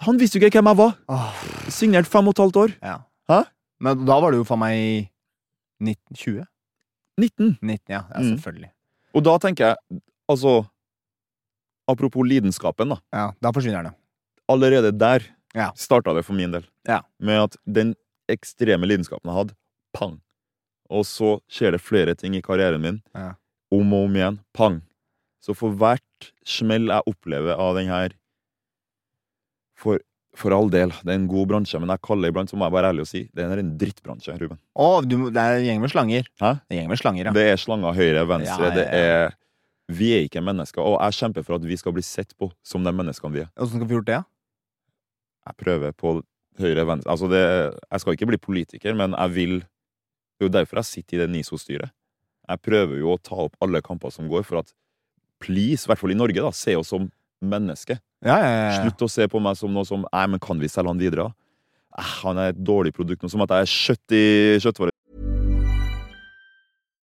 Speaker 1: Han visste jo ikke hvem jeg var.
Speaker 2: Åh,
Speaker 1: Signert fem og et halvt år.
Speaker 2: ja.
Speaker 1: Hæ?
Speaker 2: Men da var du jo faen meg i 1920?
Speaker 1: 19.
Speaker 2: 19, ja. ja
Speaker 1: Mm.
Speaker 2: selvfølgelig.
Speaker 1: Og da tenker jeg, altså Apropos lidenskapen, da.
Speaker 2: Ja, Da forsvinner den.
Speaker 1: Allerede der
Speaker 2: Ja.
Speaker 1: starta det for min del.
Speaker 2: Ja.
Speaker 1: Med at den ekstreme lidenskapen jeg hadde, pang. Og så skjer det flere ting i karrieren min,
Speaker 2: Ja.
Speaker 1: om og om igjen, pang. Så for hvert smell jeg opplever av den her for, for all del, det er en god bransje, men jeg kaller iblant, så må jeg være ærlig og si, det er en drittbransje, Ruben.
Speaker 2: Å, du, må- det er en gjeng med slanger.
Speaker 1: Hæ?
Speaker 2: En gjeng med slanger, ja.
Speaker 1: Det er slanger høyre, venstre,
Speaker 2: Ja, ja, ja.
Speaker 1: det er Vi er ikke mennesker, og jeg kjemper for at vi skal bli sett på som de menneskene vi er.
Speaker 2: Åssen skal vi gjort det, da?
Speaker 1: Jeg prøver på høyre, venstre Altså, det Jeg skal ikke bli politiker, men jeg vil Det er jo derfor jeg sitter i det NISO-styret. Jeg prøver jo å ta opp alle kamper som går, for at please, i hvert fall i Norge, da, se oss som mennesker.
Speaker 2: Ja, ja, ja, ja.
Speaker 1: Slutt å se på meg som noe som Nei, men kan vi selge han videre? da? Eh, Han er et dårlig produkt, noe som at jeg er kjøtt i kjøttvare.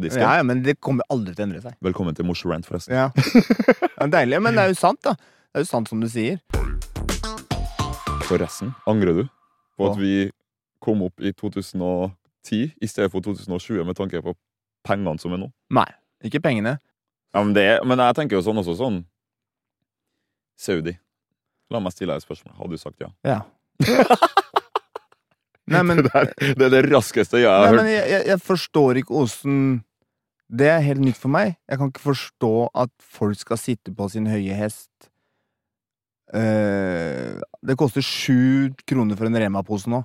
Speaker 2: ja, ja, men det kommer aldri til å endre seg.
Speaker 1: Velkommen til Mors rant, forresten.
Speaker 2: Ja. det er deilig, men det er jo sant, da. Det er jo sant som du sier.
Speaker 1: Forresten, angrer du på at
Speaker 2: Hva?
Speaker 1: vi kom opp i 2010 i stedet for 2020 med tanke på pengene som er nå?
Speaker 2: Nei. Ikke pengene.
Speaker 1: Ja, Men, det, er- men jeg tenker jo sånn også sånn Saudi. La meg stille deg et spørsmål. Hadde du sagt ja?
Speaker 2: Ja. Nei, men,
Speaker 1: det, er, det er det raskeste jeg har
Speaker 2: nei, men
Speaker 1: hørt.
Speaker 2: jeg, jeg, jeg forstår ikke åssen Det er helt nytt for meg. Jeg kan ikke forstå at folk skal sitte på sin høye hest. Eh, det koster sju kroner for en Rema-pose nå.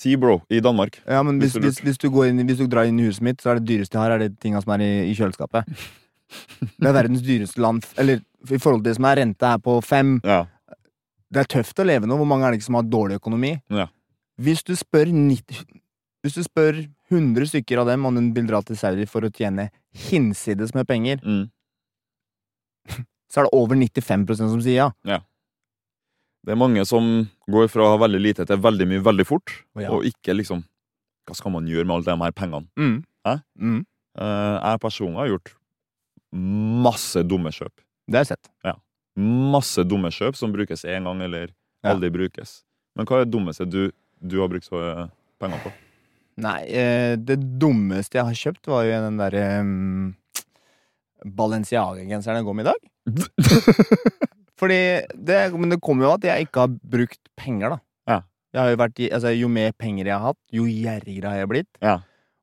Speaker 1: Ti, bro, i Danmark.
Speaker 2: Ja, men hvis,
Speaker 1: Hvis du
Speaker 2: hvis, hvis, du går inn, hvis du drar inn i huset mitt, så er det dyreste jeg har, er det tinga som er i, i kjøleskapet. Det er verdens dyreste land Eller i forhold til det som er renta her på fem.
Speaker 1: Ja.
Speaker 2: Det er tøft å leve nå. Hvor mange er det ikke som har dårlig økonomi?
Speaker 1: Ja.
Speaker 2: Hvis du spør 90, Hvis du spør 100 stykker av dem om de vil dra til Saudi for å tjene hinsides med penger,
Speaker 1: Mm.
Speaker 2: så er det over 95 som sier ja.
Speaker 1: Det er mange som går fra å ha veldig lite til veldig mye veldig fort,
Speaker 2: Å, ja.
Speaker 1: og ikke liksom Hva skal man gjøre med alle de her pengene?
Speaker 2: Mm.
Speaker 1: Hæ?
Speaker 2: Mm.
Speaker 1: Eh, jeg personlig har gjort masse dumme kjøp.
Speaker 2: Det har jeg sett.
Speaker 1: masse dumme kjøp som brukes én gang eller
Speaker 2: Ja.
Speaker 1: aldri brukes. Men hva er det dummeste du, du har brukt så, eh, penger på?
Speaker 2: Nei, eh, det dummeste jeg har kjøpt, var jo den derre um, Balenciaga-genseren jeg går med i dag. Fordi det, Men det kommer jo av at jeg ikke har brukt penger, da.
Speaker 1: Ja.
Speaker 2: Jeg har jo, vært, i- altså, jo mer penger jeg har hatt, jo gjerrigere har jeg blitt.
Speaker 1: Ja.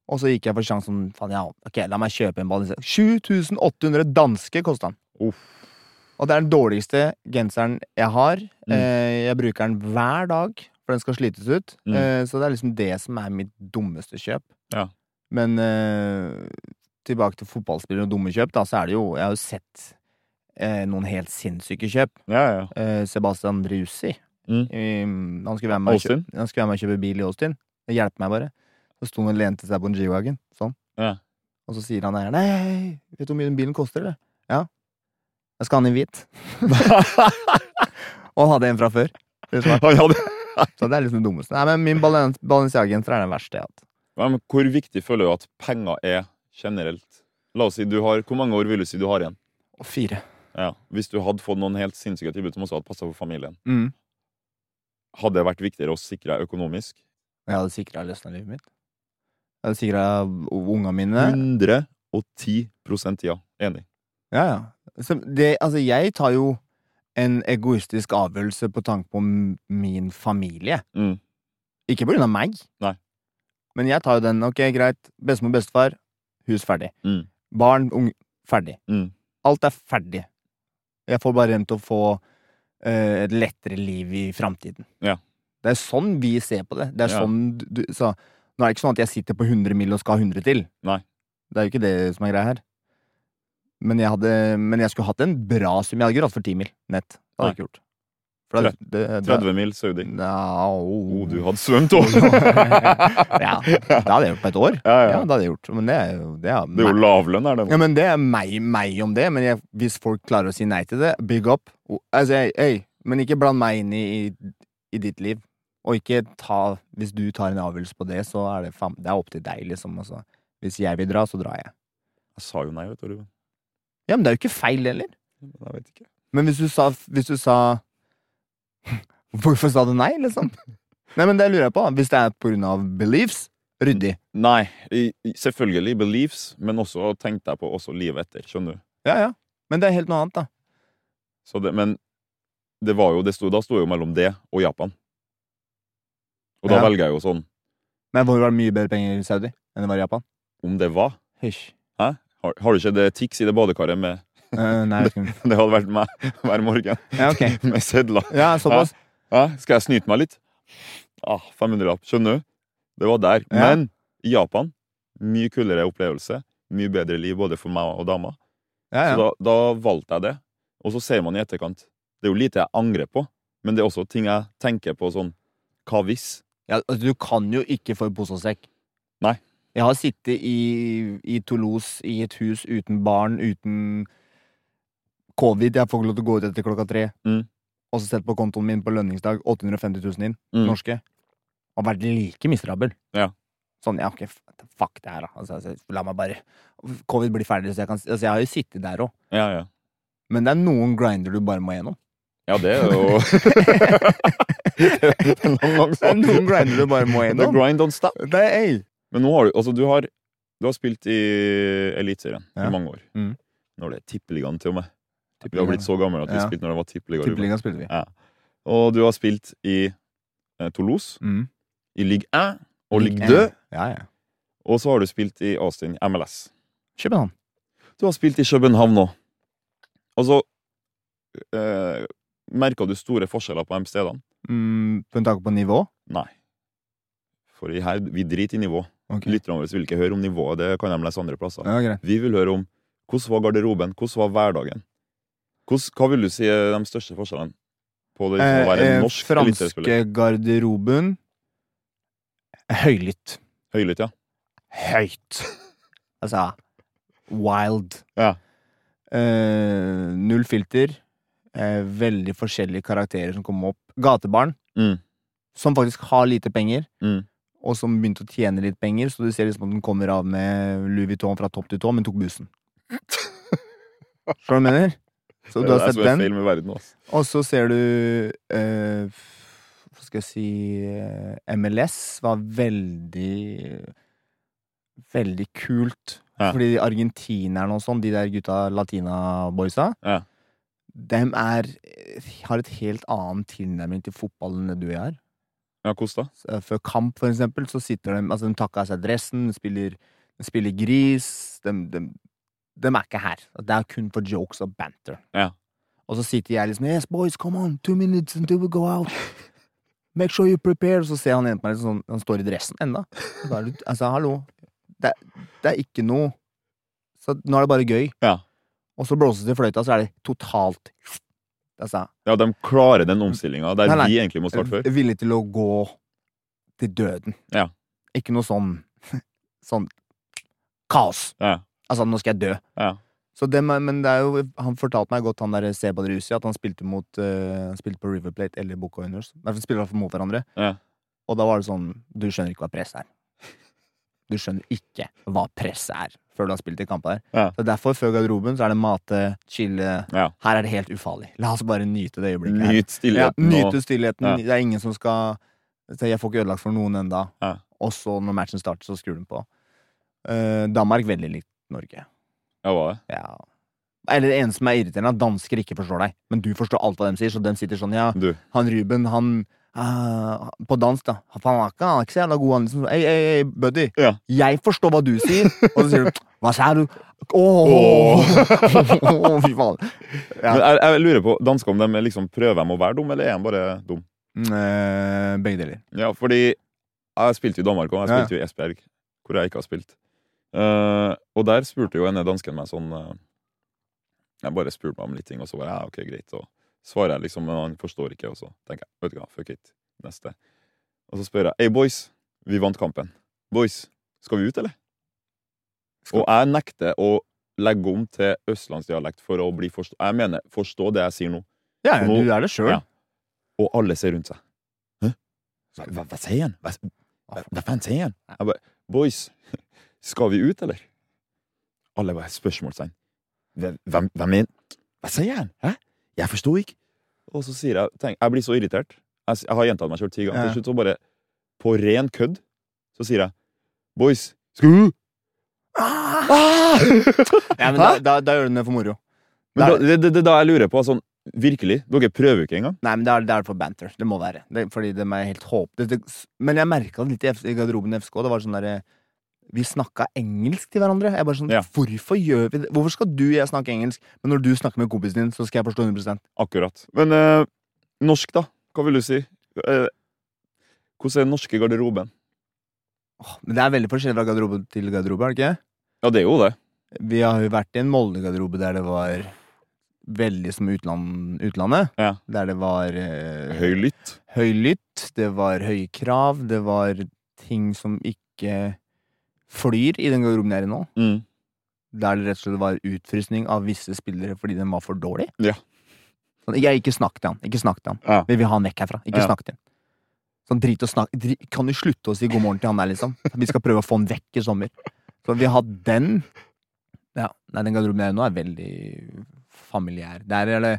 Speaker 2: Og så gikk jeg for sjansen faen, ja, Ok, la meg kjøpe en Balenciaga. 7800 danske kosta den. Og det er den dårligste genseren jeg har.
Speaker 1: Mm.
Speaker 2: Eh, jeg bruker den hver dag, for den skal slites ut.
Speaker 1: Mm.
Speaker 2: Eh, så det er liksom det som er mitt dummeste kjøp.
Speaker 1: Ja.
Speaker 2: Men eh, tilbake til fotballspillere og dumme kjøp, da, så er det jo Jeg har jo sett eh, noen helt sinnssyke kjøp.
Speaker 1: Ja, ja.
Speaker 2: Eh, Sebastian Drusi.
Speaker 1: Mm.
Speaker 2: I- han, skulle være med og
Speaker 1: Austin?
Speaker 2: kjø- han skulle være med og kjøpe bil i Austin. Det hjelper meg bare. Så sto han og lente seg på en G-wagon. Sånn.
Speaker 1: Ja.
Speaker 2: Og så sier han eieren Nei, vet du hvor mye den bilen koster, eller? Ja. Jeg skal ha den i hvit. Og han hadde en fra før.
Speaker 1: Han hadde...
Speaker 2: Så det er liksom det dummeste. Nei, men min Balen- Balenciaga-genser er den verste jeg har hatt.
Speaker 1: Ja, men hvor viktig føler du at penger er generelt? La oss si du har, Hvor mange år vil du si du har igjen?
Speaker 2: Og fire.
Speaker 1: Ja. Hvis du hadde fått noen helt sinnssyke tilbud som også hadde passa for familien,
Speaker 2: Mm.
Speaker 1: hadde det vært viktigere å sikre deg økonomisk?
Speaker 2: Jeg hadde sikra resten av livet mitt. Jeg hadde sikra unga mine.
Speaker 1: 110 ja. Enig.
Speaker 2: Ja, ja. Så det, altså, jeg tar jo en egoistisk avgjørelse på tanke på m- min familie.
Speaker 1: Mm.
Speaker 2: Ikke på grunn av meg.
Speaker 1: Nei.
Speaker 2: Men jeg tar jo den. Ok, greit. Bestemor, bestefar. Hus ferdig.
Speaker 1: Mm.
Speaker 2: Barn, unge Ferdig.
Speaker 1: Mm.
Speaker 2: Alt er ferdig. Jeg får bare rent å få eh, et lettere liv i framtiden.
Speaker 1: Ja.
Speaker 2: Det er sånn vi ser på det. Det er
Speaker 1: Ja.
Speaker 2: sånn du, du, så, nå er det ikke sånn at jeg sitter på 100 mil og skal ha 100 til.
Speaker 1: Nei.
Speaker 2: Det er jo ikke det som er greia her. Men jeg, hadde, men jeg skulle hatt en bra sum. Jeg hadde ikke dratt for 10 mil nett. Det hadde jeg ikke gjort. For da- det- det-
Speaker 1: 30 mil Saudi.
Speaker 2: Nja,
Speaker 1: Å,
Speaker 2: oh.
Speaker 1: du hadde svømt òg!
Speaker 2: ja, det hadde jeg gjort på et år.
Speaker 1: Ja, ja.
Speaker 2: det hadde jeg gjort. Men det er jo, det er
Speaker 1: Det er jo lavlønn her, det.
Speaker 2: ja, men det er meg, meg om det, men jeg, hvis folk klarer å si nei til det, big up. O- Altså, jeg, ei, men ikke bland meg inn i, i, i ditt liv. Og ikke ta Hvis du tar en avgjørelse på det, så er det faen Det er opp til deg, liksom. Altså. Hvis jeg vil dra, så drar jeg.
Speaker 1: Jeg sa jo nei, vet du, Ruben.
Speaker 2: Ja, men det er jo ikke feil heller.
Speaker 1: Jeg vet ikke.
Speaker 2: Men hvis du sa, hvis du sa Hvorfor sa du nei, liksom? Nei, men det lurer jeg på. Hvis det er på grunn av beliefs, ryddig.
Speaker 1: Nei, i- i- selvfølgelig beliefs, men også tenkte jeg på også livet etter, skjønner du.
Speaker 2: Ja, ja. Men det er helt noe annet, da.
Speaker 1: Så det, men det var jo, det sto, da sto jeg jo mellom det og Japan. Og da
Speaker 2: Ja.
Speaker 1: velger jeg jo sånn
Speaker 2: Men hvor var det mye bedre penger i Saudi enn det var i Japan?
Speaker 1: Om det var
Speaker 2: Hysj.
Speaker 1: Hæ? Har, har du ikke det tics i det badekaret med
Speaker 2: Eh, nei, jeg vet ikke.
Speaker 1: Det hadde vært meg hver morgen
Speaker 2: Ja, ok.
Speaker 1: med sedler.
Speaker 2: Ja, såpass.
Speaker 1: Hæ? Skal jeg snyte meg litt? Ah, 500-lapp. Skjønner du? Det var der.
Speaker 2: Ja.
Speaker 1: Men i Japan mye kulere opplevelse. Mye bedre liv både for meg og dama.
Speaker 2: Ja, ja.
Speaker 1: Så da, da valgte jeg det. Og så sier man i etterkant Det er jo lite jeg angrer på, men det er også ting jeg tenker på sånn Hva hvis?
Speaker 2: Ja, altså, du kan jo ikke få pose og sekk.
Speaker 1: Nei.
Speaker 2: Jeg har sittet i, i Toulouse i et hus uten barn, uten covid. Jeg får ikke lov til å gå ut etter klokka tre.
Speaker 1: Mm.
Speaker 2: Og så sett på kontoen min på lønningsdag 850 000 inn,
Speaker 1: Mm.
Speaker 2: norske. Og vært like miserabel.
Speaker 1: Ja.
Speaker 2: Sånn, ja, ok, f- fuck det her, da. Altså, altså, la meg bare Covid blir ferdig, så jeg kan Altså, jeg har jo sittet der òg.
Speaker 1: Ja, ja.
Speaker 2: Men det er noen grinder du bare må gjennom.
Speaker 1: Ja, det er jo Det er en lang, lang
Speaker 2: Det er
Speaker 1: sak.
Speaker 2: noen grinder du bare må
Speaker 1: The
Speaker 2: gjennom.
Speaker 1: grind don't stop.
Speaker 2: Det er ei.
Speaker 1: Men nå har du Altså, du har, du har spilt i Eliteserien
Speaker 2: Ja.
Speaker 1: i mange år.
Speaker 2: Mm.
Speaker 1: Når det er Tippeligaen, til og med. Vi har blitt så gamle at vi
Speaker 2: Ja.
Speaker 1: spilte når det var Tippeliga. Ruben.
Speaker 2: Tippeligaen spiller vi.
Speaker 1: Og du har spilt i eh, Toulouse,
Speaker 2: Mm.
Speaker 1: i Ligue 1 og
Speaker 2: Ligg
Speaker 1: Ligue 2.
Speaker 2: Ja, ja.
Speaker 1: Og så har du spilt i Austin, MLS.
Speaker 2: København.
Speaker 1: Du har spilt i København òg. Altså eh, Merka du store forskjeller på de stedene?
Speaker 2: Mm, på en tanke på nivå?
Speaker 1: Nei. For i her, vi driter i nivå.
Speaker 2: Ok.
Speaker 1: Lytterne våre vil ikke høre om nivået, det kan de lese andre plasser.
Speaker 2: Ja, greit.
Speaker 1: Vi vil høre om hvordan var garderoben, hvordan var hverdagen? Hvordan, hva vil du si er de største forskjellene på det liksom, å være
Speaker 2: eh,
Speaker 1: en
Speaker 2: eh,
Speaker 1: norsk eliteseriespiller?
Speaker 2: franske garderoben Høylytt.
Speaker 1: Høylytt, ja.
Speaker 2: Høyt. Altså wild.
Speaker 1: Ja.
Speaker 2: Eh, null filter. Eh, veldig forskjellige karakterer som kom opp. Gatebarn,
Speaker 1: Mm.
Speaker 2: som faktisk har lite penger,
Speaker 1: Mm.
Speaker 2: og som begynte å tjene litt penger, så du ser liksom at den kommer av med Louis Vuitton fra topp til tå, men tok bussen. Skjønner du hva jeg mener? Så du
Speaker 1: det
Speaker 2: har
Speaker 1: er
Speaker 2: sett
Speaker 1: som en
Speaker 2: den?
Speaker 1: feil med verden. Altså.
Speaker 2: Og så ser du eh, Hva skal jeg si eh, MLS var veldig Veldig kult.
Speaker 1: Ja.
Speaker 2: Fordi argentinerne og sånn, de der gutta latina-boysa,
Speaker 1: Ja.
Speaker 2: dem er eh, har et helt annen tilnærming til fotball enn det du og jeg har.
Speaker 1: Ja, hvordan da?
Speaker 2: Så, eh, Før kamp, for eksempel, så sitter de Altså, de takker av seg dressen, de spiller, de spiller gris de, de, de er ikke her. Det er kun for jokes og banter.
Speaker 1: Ja.
Speaker 2: Og så sitter jeg liksom Yes, boys, come on, two minutes until we go out. Make sure you prepare. Og så ser han ene på meg sånn, han står i dressen enda. Og da er du- Altså, hallo. Det, det er ikke noe Så nå er det bare gøy.
Speaker 1: Ja.
Speaker 2: Og så blåses det i fløyta, så er det totalt Altså,
Speaker 1: Ja, de klarer den omstillinga der
Speaker 2: Nei, nei. Eh,
Speaker 1: vi egentlig må starte før.
Speaker 2: villig til å gå til døden.
Speaker 1: Ja.
Speaker 2: Ikke noe sånn sånn kaos.
Speaker 1: Ja,
Speaker 2: Altså, nå skal jeg dø.
Speaker 1: ja.
Speaker 2: Så det, men men det er jo, han fortalte meg godt, han der Seban Rusi, at han spilte, mot, eh, han spilte på River Plate eller Boca Juniors. I hvert fall spiller han mot hverandre.
Speaker 1: Ja.
Speaker 2: Og da var det sånn Du skjønner ikke hva press er. Du skjønner ikke hva press er før du har spilt i kamper der.
Speaker 1: Ja.
Speaker 2: Så derfor, før garderoben, så er det mate, chille
Speaker 1: Ja.
Speaker 2: Her er det helt ufarlig. La oss bare nyte det øyeblikket. her.
Speaker 1: Nyt stillheten.
Speaker 2: Ja,
Speaker 1: og-
Speaker 2: nyte stillheten.
Speaker 1: Ja.
Speaker 2: Det er ingen som skal så Jeg får ikke ødelagt for noen enda
Speaker 1: Ja.
Speaker 2: Og så, når matchen starter, så skrur den på. Eh, Danmark veldig likt Norge.
Speaker 1: Ja, hva er det?
Speaker 2: Ja. Eller det eneste som er irriterende, er at dansker ikke forstår deg. Men du forstår alt hva de sier, så de sitter sånn, ja,
Speaker 1: Du.
Speaker 2: han Ruben, han ah, På dansk, da. Han han er ikke, han er ikke så jævla god, han liksom. Ei, ei, ei, buddy.
Speaker 1: Ja.
Speaker 2: Jeg forstår hva du sier. Og så sier du Hva sa du? Åh!
Speaker 1: Åh.
Speaker 2: Fy faen. Ja.
Speaker 1: Men jeg, jeg lurer på, dansker om de liksom prøver dem å være dum, eller er de bare dum?
Speaker 2: Eh, begge deler.
Speaker 1: Ja, fordi jeg spilte jo i Danmark òg. Jeg
Speaker 2: Ja, ja.
Speaker 1: spilte jo i Esbjerg, hvor jeg ikke har spilt. Eh, og der spurte jo en dansken meg sånn eh, Jeg bare spurte meg om litt ting, og så bare ja, ok, greit. Og svarer jeg liksom, men han forstår ikke, og så tenker jeg vet du hva, fuck it. Neste. Og så spør jeg hey boys, vi vant kampen. Boys, skal vi ut, eller?
Speaker 2: Skal-
Speaker 1: Og jeg nekter å legge om til østlandsdialekt for å bli forstå... Jeg mener, forstå det jeg sier nå.
Speaker 2: Ja, ja,
Speaker 1: Nå-
Speaker 2: du er det sjøl.
Speaker 1: Ja. Og alle ser rundt seg. Hæ? Hva, hva sier han? Hva, hva, hva faen sier han? Jeg bare, boys, skal vi ut, eller? Alle bare spørsmålstegn. Hvem, hvem, hvem er Hva sier han? Hæ? Jeg forstår ikke. Og så sier jeg tenk, Jeg blir så irritert. Jeg, s- jeg har gjentatt meg sjøl ti ganger.
Speaker 2: Ja.
Speaker 1: Til slutt så bare, på ren kødd, så sier jeg, boys, skal du? Ah!
Speaker 2: Ja, men da, da, da gjør du det for moro.
Speaker 1: Men da,
Speaker 2: Der-
Speaker 1: det, det, det er da jeg lurer på, sånn, virkelig, dere prøver jo ikke engang.
Speaker 2: Nei, men det er, det er for banter. Det må være. Det, fordi de er helt håp... Det, det, men jeg merka det litt i, F- i garderoben i FSK. Det var sånn derre Vi snakka engelsk til hverandre. Jeg bare sånn
Speaker 1: Ja.
Speaker 2: Hvorfor gjør vi det? Hvorfor skal du og jeg snakke engelsk, men når du snakker med kompisen din, så skal jeg forstå 100
Speaker 1: Akkurat. Men eh, norsk, da? Hva vil du si? Eh, hvordan er den norske garderoben?
Speaker 2: Åh, Men det er veldig forskjellig fra garderobe til garderobe, er det ikke?
Speaker 1: Ja, det er jo det.
Speaker 2: Vi har jo vært i en Molde-garderobe der det var veldig som utland, utlandet.
Speaker 1: Ja.
Speaker 2: Der det var eh,
Speaker 1: Høylytt.
Speaker 2: høylytt, det var høye krav, det var ting som ikke flyr i den garderoben jeg er i nå.
Speaker 1: Mm.
Speaker 2: Der det rett og slett var utfrysning av visse spillere fordi den var for dårlig.
Speaker 1: Ja.
Speaker 2: Sånn, jeg ikke snakk til han, ikke snakk til han.
Speaker 1: Ja.
Speaker 2: Vi vil ha han vekk herfra, ikke
Speaker 1: Ja.
Speaker 2: snakk til han. Sånn drit og snakk, dri- kan du slutte å si god morgen til han der, liksom? Vi skal prøve å få han vekk i sommer. Så vi har den. Ja, nei, den garderoben jeg er i nå er veldig familiær. Der er det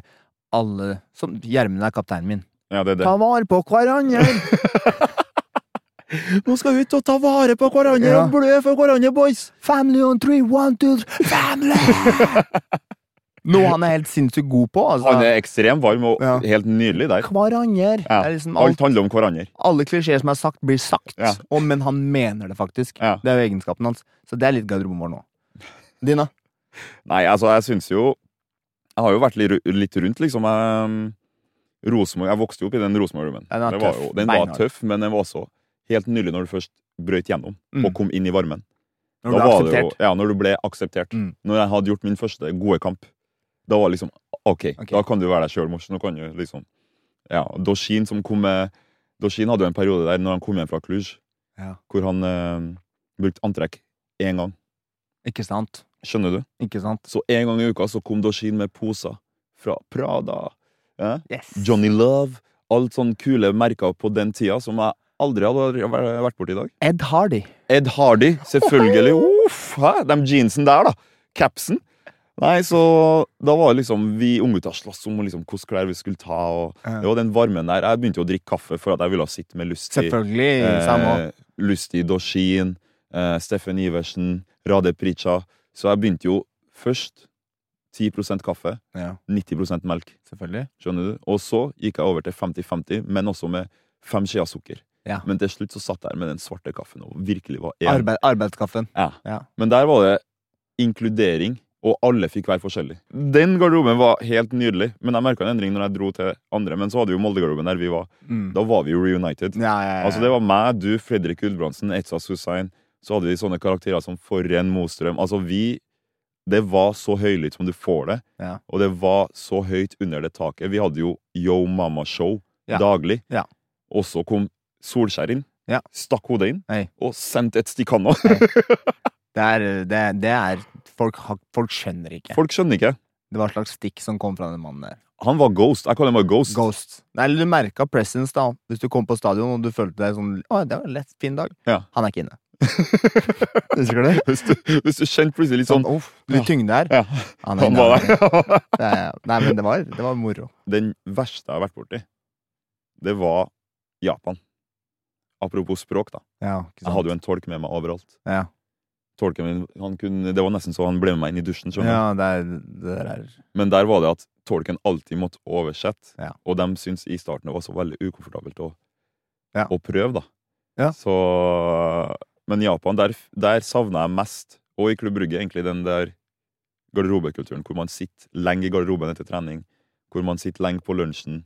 Speaker 2: alle, som Gjermund er kapteinen min.
Speaker 1: Ja, det er det.
Speaker 2: Ta vare på hverandre!
Speaker 1: Nå skal vi ut og ta vare på hverandre
Speaker 2: Ja.
Speaker 1: og blø for hverandre, boys!
Speaker 2: Family on three, one, two, three, family! Noe han er helt sinnssykt god på. Altså.
Speaker 1: Han er ekstremt varm og
Speaker 2: Ja.
Speaker 1: helt nydelig der.
Speaker 2: Hverandre.
Speaker 1: Ja.
Speaker 2: Det er liksom
Speaker 1: alt
Speaker 2: alt,
Speaker 1: handler om hverandre.
Speaker 2: alle klisjeer som er sagt, blir sagt,
Speaker 1: Ja.
Speaker 2: og, men han mener det faktisk.
Speaker 1: Ja.
Speaker 2: Det er jo egenskapen hans. Så det er litt garderoben vår nå. Dina?
Speaker 1: Nei, altså, jeg syns jo Jeg har jo vært litt, ru- litt rundt, liksom. Jeg, Rosenborg Jeg vokste jo opp i den Rosenborg-roomen.
Speaker 2: Ja, den var
Speaker 1: Det var
Speaker 2: tøff.
Speaker 1: jo- Den var
Speaker 2: Beinhard.
Speaker 1: tøff, men den var også helt nydelig når du først brøyt gjennom
Speaker 2: Mm.
Speaker 1: og kom inn i varmen.
Speaker 2: Når du
Speaker 1: da
Speaker 2: er
Speaker 1: var det jo,
Speaker 2: akseptert.
Speaker 1: ja, når du ble akseptert.
Speaker 2: Mm.
Speaker 1: Når jeg hadde gjort min første gode kamp, da var det liksom OK,
Speaker 2: Ok.
Speaker 1: da kan du være deg sjøl, mors. Nå kan du liksom Ja, Doshin som kom med Doshin hadde jo en periode der når han kom hjem fra Cluj,
Speaker 2: Ja.
Speaker 1: hvor han eh, brukte antrekk én gang.
Speaker 2: Ikke sant?
Speaker 1: Skjønner du?
Speaker 2: Ikke sant?
Speaker 1: Så én gang i uka så kom Doshin med poser fra Prada, ja?
Speaker 2: Yes.
Speaker 1: Johnny Love, alt sånne kule merker på den tida som jeg aldri hadde vært borti i dag.
Speaker 2: Ed Hardy.
Speaker 1: Ed Hardy, selvfølgelig. Uff, hæ? De jeansene der, da. Capsen. Nei, så da var det liksom vi unggutta sloss om liksom, hvilke klær vi skulle ta. Og,
Speaker 2: Ja.
Speaker 1: det var den varmen der. Jeg begynte jo å drikke kaffe for at jeg ville sitte med Lustig.
Speaker 2: Selvfølgelig.
Speaker 1: Eh,
Speaker 2: Samme òg.
Speaker 1: Lustig Doshin, eh, Steffen Iversen, Rade Prica. Så jeg begynte jo først 10 kaffe,
Speaker 2: Ja,
Speaker 1: 90 melk.
Speaker 2: selvfølgelig.
Speaker 1: Skjønner du? Og så gikk jeg over til 50-50, men også med fem skjeer sukker.
Speaker 2: Ja.
Speaker 1: Men til slutt så satt jeg der med den svarte kaffen og virkelig var en
Speaker 2: Arbeid, arbeidskaffen.
Speaker 1: ja.
Speaker 2: Ja.
Speaker 1: Men der var det inkludering, og alle fikk være forskjellig. Den garderoben var helt nydelig, men jeg merka en endring når jeg dro til andre. Men så hadde vi jo Molde-garderoben der vi var.
Speaker 2: Mm.
Speaker 1: Da var vi jo reunited.
Speaker 2: Ja, ja, ja.
Speaker 1: Altså Det var meg, du, Fredrik Gulbrandsen, Etsa Susain. Så hadde vi sånne karakterer som Forren Mostrøm. Altså vi Det var så høylytt som du får det,
Speaker 2: Ja.
Speaker 1: og det var så høyt under det taket. Vi hadde jo Yo Mama Show
Speaker 2: Ja.
Speaker 1: daglig.
Speaker 2: Ja.
Speaker 1: Og så kom Solskjær inn,
Speaker 2: Ja.
Speaker 1: stakk hodet inn
Speaker 2: Hei.
Speaker 1: og sendte et stikk handa.
Speaker 2: Hei. Det er, det, det er folk, har- folk skjønner ikke.
Speaker 1: Folk skjønner ikke.
Speaker 2: Det var et slags stikk som kom fra den mannen der.
Speaker 1: Han var ghost. Jeg kaller han bare ghost.
Speaker 2: Ghost. Nei, eller du merka presence, da. Hvis du kom på stadion og du følte deg sånn Å, det var en lett, fin dag.
Speaker 1: Ja.
Speaker 2: Han er ikke inne. Husker du det?
Speaker 1: Hvis du, hvis du kjente plutselig litt sånn
Speaker 2: uff, litt tyngde her.
Speaker 1: ja,
Speaker 2: Han er
Speaker 1: Han
Speaker 2: inne.
Speaker 1: var
Speaker 2: han er inne.
Speaker 1: der.
Speaker 2: Det er- Nei, men det var, det var moro.
Speaker 1: Den verste jeg har vært borti, det var Japan. Apropos språk, da.
Speaker 2: Ja, ikke sant?
Speaker 1: Jeg hadde jo en tolk med meg overalt.
Speaker 2: Ja.
Speaker 1: Tolken min, han kunne, Det var nesten så han ble med meg inn i dusjen. skjønner du.
Speaker 2: ja, det er det der er
Speaker 1: Men der var det at tolken alltid måtte oversette,
Speaker 2: Ja.
Speaker 1: og de syntes i starten det var så veldig ukomfortabelt å,
Speaker 2: Ja.
Speaker 1: å prøve, da.
Speaker 2: Ja.
Speaker 1: Så, men Japan, der, der savna jeg mest, og i Klubb Brygge, egentlig den der garderobekulturen hvor man sitter lenge i garderoben etter trening, hvor man sitter lenge på lunsjen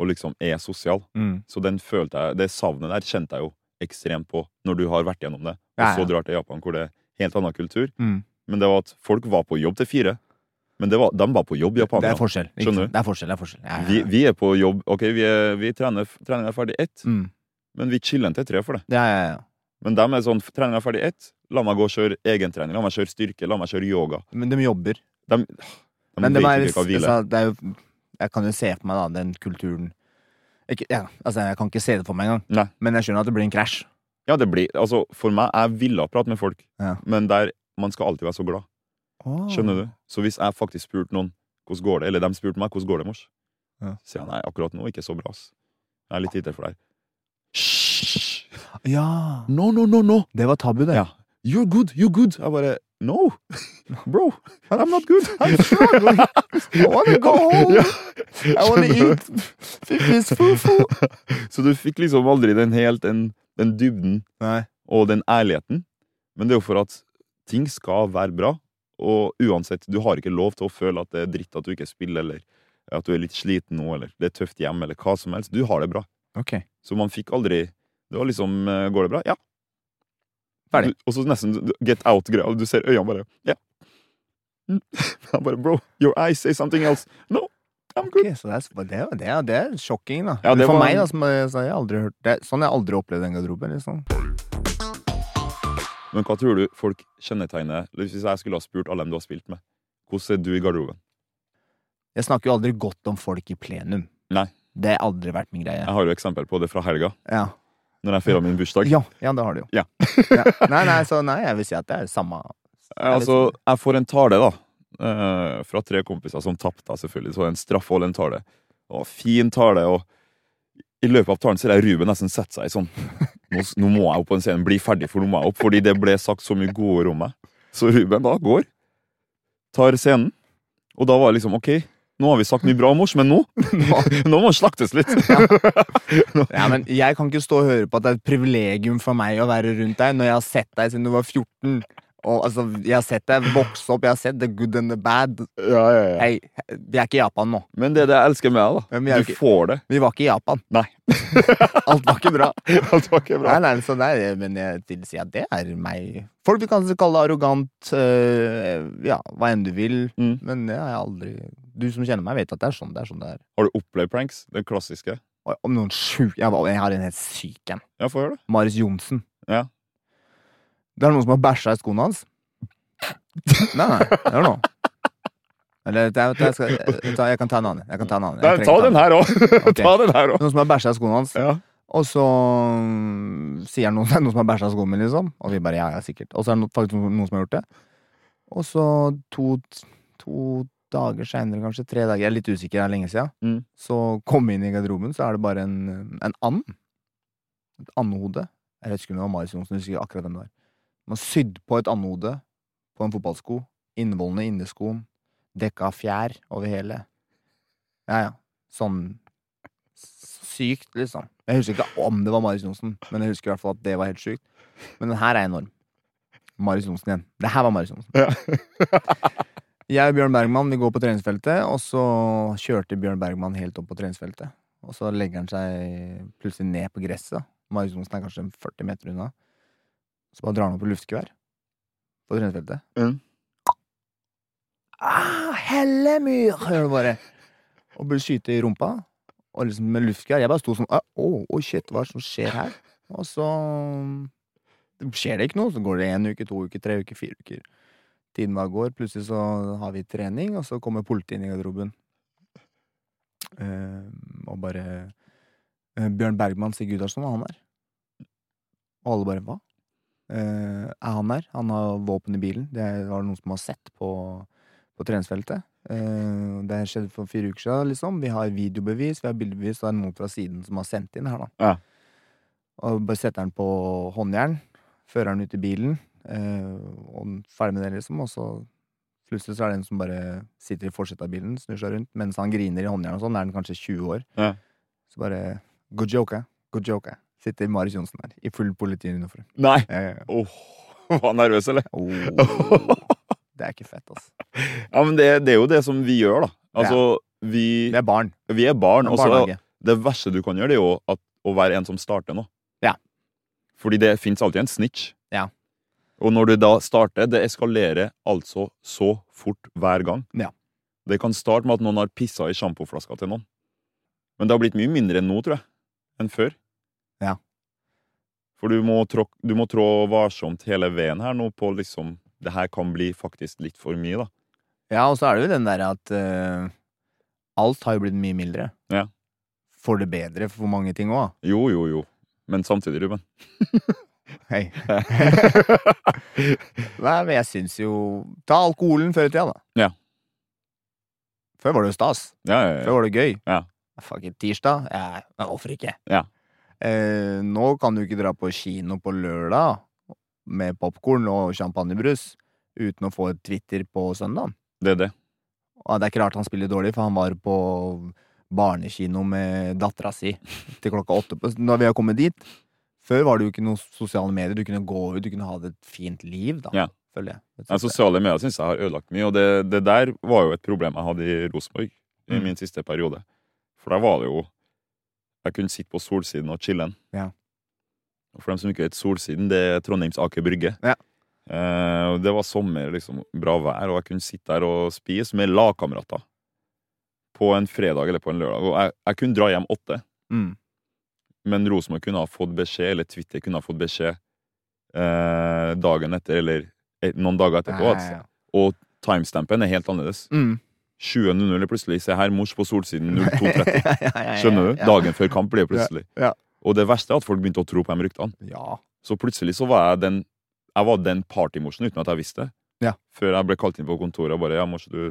Speaker 1: og liksom er sosial.
Speaker 2: mm.
Speaker 1: Så den følte jeg, det savnet der kjente jeg jo ekstremt på når du har vært gjennom det, og
Speaker 2: Ja, ja.
Speaker 1: så drar til Japan hvor det er helt annen kultur.
Speaker 2: Mm.
Speaker 1: Men det var at folk var på jobb til fire. Men det var, de var på jobb,
Speaker 2: Det
Speaker 1: japanerne.
Speaker 2: er forskjell. ikke
Speaker 1: Skjønner
Speaker 2: sant?
Speaker 1: du?
Speaker 2: Det er forskjell. Det er forskjell. Ja, ja, ja.
Speaker 1: Vi, vi er på jobb Ok, vi, er, vi trener Treninga er ferdig ett,
Speaker 2: Mm.
Speaker 1: men vi chiller'n til tre for det.
Speaker 2: ja, ja, ja.
Speaker 1: Men de er sånn Treninga er ferdig ett, la meg gå og kjøre egentrening, la meg kjøre styrke, la meg kjøre yoga.
Speaker 2: Men de jobber.
Speaker 1: De, de
Speaker 2: Men de
Speaker 1: vet
Speaker 2: er,
Speaker 1: ikke hva hvile
Speaker 2: altså, det er jo, jeg kan jo se for meg da, den kulturen ikke, ja, altså, Jeg kan ikke se det for meg engang,
Speaker 1: Nei.
Speaker 2: men jeg skjønner at det blir en krasj.
Speaker 1: Ja, det blir Altså, for meg, jeg ville prate med folk,
Speaker 2: Ja.
Speaker 1: men der man skal alltid være så glad.
Speaker 2: Mm.
Speaker 1: Skjønner du? Så hvis jeg faktisk spurte noen hvordan går det, eller de spurte meg hvordan går det, mors,
Speaker 2: Ja.
Speaker 1: sier jeg nei, akkurat nå ikke så bra, ass. Jeg er litt tidlig for deg. Hysj!
Speaker 2: Ja!
Speaker 1: No, no, no, no.
Speaker 2: Det var tabu, det.
Speaker 1: Ja. You're good, you're good. Jeg bare No! Bro, I'm not good.
Speaker 2: I wanna go home.
Speaker 1: Ja.
Speaker 2: I wanna
Speaker 1: Skjønner
Speaker 2: eat this fufu.
Speaker 1: Så du fikk liksom aldri den helt den, den dybden
Speaker 2: Nei.
Speaker 1: og den ærligheten. Men det er jo for at ting skal være bra, og uansett, du har ikke lov til å føle at det er dritt at du ikke spiller, eller at du er litt sliten nå, eller det er tøft hjemme, eller hva som helst. Du har det bra.
Speaker 2: Ok.
Speaker 1: Så man fikk aldri Det var liksom eh, Går det bra? Ja.
Speaker 2: Ferdig.
Speaker 1: Du, og så nesten du- get out-greia. og Du ser øynene bare Ja. Mm. Jeg bare Bro, your eyes say something else. No, I'm good.
Speaker 2: Ok, så det, er, det, er- det, er, det er sjokking, da.
Speaker 1: Ja, det
Speaker 2: for
Speaker 1: var-
Speaker 2: meg, da, som jeg, så har jeg aldri hørt det, er- Sånn har jeg aldri opplevd den garderoben. Liksom.
Speaker 1: Men hva tror du folk kjennetegner eller Hvis jeg skulle ha spurt alle dem du har spilt med, hvordan er du i garderoben?
Speaker 2: Jeg snakker jo aldri godt om folk i plenum.
Speaker 1: Nei.
Speaker 2: Det har aldri vært min
Speaker 1: Jeg
Speaker 2: greie.
Speaker 1: har jo eksempel på det fra helga,
Speaker 2: Ja.
Speaker 1: når jeg feira min bursdag.
Speaker 2: Ja, ja, det har du jo.
Speaker 1: Ja.
Speaker 2: Ja. Nei, nei, så nei, jeg vil si at det er samme
Speaker 1: Eh, Altså, jeg får en tale, da. eh, Fra tre kompiser som tapte, da, selvfølgelig. Så var det en straff og en tale. Og fin tale, og i løpet av talen ser jeg Ruben nesten sette seg i sånn nå, s- nå må jeg opp på den scenen, bli ferdig, for nå må jeg opp. Fordi det ble sagt så mye gode ord om meg. Så Ruben da går, tar scenen, og da var det liksom ok. Nå har vi sagt mye bra om oss, men nå Nå må det slaktes litt!
Speaker 2: Ja, men jeg kan ikke stå og høre på at det er et privilegium for meg å være rundt deg når jeg har sett deg siden du var 14. Og altså, Jeg har sett deg vokse opp, jeg har sett the good and the bad.
Speaker 1: Ja, ja, ja.
Speaker 2: Hei, vi er ikke i Japan nå.
Speaker 1: Men det er det jeg elsker med deg,
Speaker 2: Ja, men
Speaker 1: da.
Speaker 2: jeg er
Speaker 1: Du
Speaker 2: jo ikke-
Speaker 1: får det.
Speaker 2: Vi var ikke i Japan.
Speaker 1: Nei.
Speaker 2: Alt var ikke bra.
Speaker 1: Alt var ikke bra.
Speaker 2: Nei, nei, så nei, men jeg vil si at det er meg. Folk vil kanskje kalle det arrogant, øh, ja, hva enn du vil,
Speaker 1: Mm.
Speaker 2: men det har jeg aldri Du som kjenner meg, vet at det er sånn det er. Sånn det er.
Speaker 1: Har du opplevd pranks? Den klassiske?
Speaker 2: Og Om noen sjuk Jeg var- jeg har en helt syk en.
Speaker 1: Ja, få høre det.
Speaker 2: Marius Johnsen.
Speaker 1: Ja.
Speaker 2: Det er noen som har bæsja i skoene hans. Nei, nei, hør nå. Eller vet du, jeg, jeg, skal, jeg, jeg kan ta en annen. Jeg kan ta en annen. Jeg
Speaker 1: Nei,
Speaker 2: trenger
Speaker 1: ta
Speaker 2: ikke
Speaker 1: den her òg!
Speaker 2: Ok.
Speaker 1: Ta den her òg!
Speaker 2: Noen som har bæsja i skoene hans.
Speaker 1: Ja.
Speaker 2: Og så mm, sier han noen, det er noen som har bæsja i skoene mine, liksom. Og vi bare ja, ja, sikkert. Og så er det no- faktisk noen, noen som har gjort det. Og så to, to dager seinere, kanskje tre dager, jeg er litt usikker, det er lenge sia,
Speaker 1: Mm.
Speaker 2: så kom jeg inn i garderoben, så er det bare en, en and. Et andehode. Jeg vet ikke om det var Marius Johnsen, jeg husker ikke akkurat hvem det var. Man har sydd på et andehode på en fotballsko. Innvollene inni skoen. Dekka av fjær over hele. Ja, ja. Sånn sykt, liksom. Jeg husker ikke om det var Marius Johnsen, men jeg husker i hvert fall at det var helt sykt. Men den her er enorm. Marius Johnsen igjen. Det her var Marius Johnsen. jeg og Bjørn Bergman vi går på treningsfeltet, og så kjørte Bjørn Bergman helt opp på treningsfeltet. Og så legger han seg plutselig ned på gresset. Marius Johnsen er kanskje en 40 meter unna. Så bare drar han opp på luftgevær på treningsfeltet.
Speaker 1: Mm.
Speaker 2: Ah, hellemyr! Hører du bare. Og burde skyte i rumpa. Og liksom med luftgevær. Jeg bare sto sånn Å, å, å, shit, hva er det som skjer her? Og så skjer det ikke noe, så går det én uke, to uker, tre uker, fire uker. Tiden bare går, plutselig så har vi trening, og så kommer politiet inn i garderoben. Eh, og bare eh, Bjørn Bergman sier Gudarsen, han er. Og alle bare hva? Eh, er han der? Han har våpen i bilen. Det er- var det noen som har sett på, på treningsfeltet. Eh, det skjedde for fire uker siden, liksom. Vi har videobevis, vi har bildebevis, og det er noen fra siden som har sendt inn her, da.
Speaker 1: Ja.
Speaker 2: Og bare setter den på håndjern, fører den ut i bilen, eh, og den er ferdig med det, liksom. Og så plutselig så er det en som bare sitter i forsetet av bilen, snur seg rundt, mens han griner i håndjern og sånn. Da er den kanskje 20 år.
Speaker 1: Ja.
Speaker 2: Så bare Good joke, eh. good joke. eh. Sitter Marius Johnsen der, i full politiuniform.
Speaker 1: Nei!
Speaker 2: Ja, ja, ja.
Speaker 1: Åh, var han nervøs, eller?
Speaker 2: Oh, det er ikke fett, altså.
Speaker 1: Ja, men det, det er jo det som vi gjør, da. Altså, vi,
Speaker 2: Det er barn.
Speaker 1: vi er barn.
Speaker 2: Det er
Speaker 1: Og så
Speaker 2: barnehage.
Speaker 1: det verste du kan gjøre, det er jo at, å være en som starter noe.
Speaker 2: Ja.
Speaker 1: Fordi det fins alltid en snitch.
Speaker 2: Ja.
Speaker 1: Og når du da starter, det eskalerer altså så fort hver gang.
Speaker 2: Ja.
Speaker 1: Det kan starte med at noen har pissa i sjampoflaska til noen. Men det har blitt mye mindre enn nå, tror jeg, enn før.
Speaker 2: Ja.
Speaker 1: For du må, trå, du må trå varsomt hele veien her nå på liksom Det her kan bli faktisk litt for mye, da.
Speaker 2: Ja, og så er det jo den der at eh, alt har jo blitt mye mildere.
Speaker 1: Ja.
Speaker 2: For det bedre for mange ting òg.
Speaker 1: Jo, jo, jo. Men samtidig, Ruben.
Speaker 2: Hei. Nei, men jeg syns jo Ta alkoholen før i tida, da.
Speaker 1: Ja.
Speaker 2: Før var det jo stas.
Speaker 1: Ja, ja, ja.
Speaker 2: Før var det gøy.
Speaker 1: Ja.
Speaker 2: Fuck it, tirsdag? Jeg, jeg, hvorfor ikke?
Speaker 1: Ja.
Speaker 2: Eh, nå kan du ikke dra på kino på lørdag med popkorn og champagnebrus uten å få et Twitter på søndagen.
Speaker 1: Det er det.
Speaker 2: Og det er ikke rart han spiller dårlig, for han var på barnekino med dattera si til klokka åtte. på- Når vi har kommet dit Før var det jo ikke noen sosiale medier. Du kunne gå ut, du kunne ha det et fint liv, da.
Speaker 1: Ja.
Speaker 2: Føler jeg.
Speaker 1: Nei, sosiale medier syns jeg har ødelagt mye, og det, det der var jo et problem jeg hadde i Rosenborg i
Speaker 2: Mm.
Speaker 1: min siste periode. For der var det jo Jeg kunne sitte på Solsiden og chille'n.
Speaker 2: Ja.
Speaker 1: Og for dem som ikke vet Solsiden, det er Trondheims Aker Brygge.
Speaker 2: Ja.
Speaker 1: Eh, og det var sommer, liksom, bra vær, og jeg kunne sitte der og spise med lagkamerater. På en fredag eller på en lørdag. Og jeg, jeg kunne dra hjem åtte.
Speaker 2: Mm.
Speaker 1: Men Rosenborg kunne ha fått beskjed, eller Twitter kunne ha fått beskjed eh, dagen etter, eller eh, noen dager etterpå.
Speaker 2: Ja,
Speaker 1: At,
Speaker 2: ja, ja.
Speaker 1: og timestampen er helt annerledes.
Speaker 2: Mm.
Speaker 1: 20.00 er plutselig. Se her, mors på Solsiden 02.30.
Speaker 2: Ja, ja, ja, ja,
Speaker 1: Skjønner du?
Speaker 2: ja.
Speaker 1: Dagen før kamp blir det plutselig.
Speaker 2: Ja, ja.
Speaker 1: Og det verste er at folk begynte å tro på de ryktene.
Speaker 2: Ja.
Speaker 1: Så plutselig så var jeg den jeg var den partymorsen uten at jeg visste det.
Speaker 2: Ja.
Speaker 1: Før jeg ble kalt inn på kontoret og bare Ja, mors, du,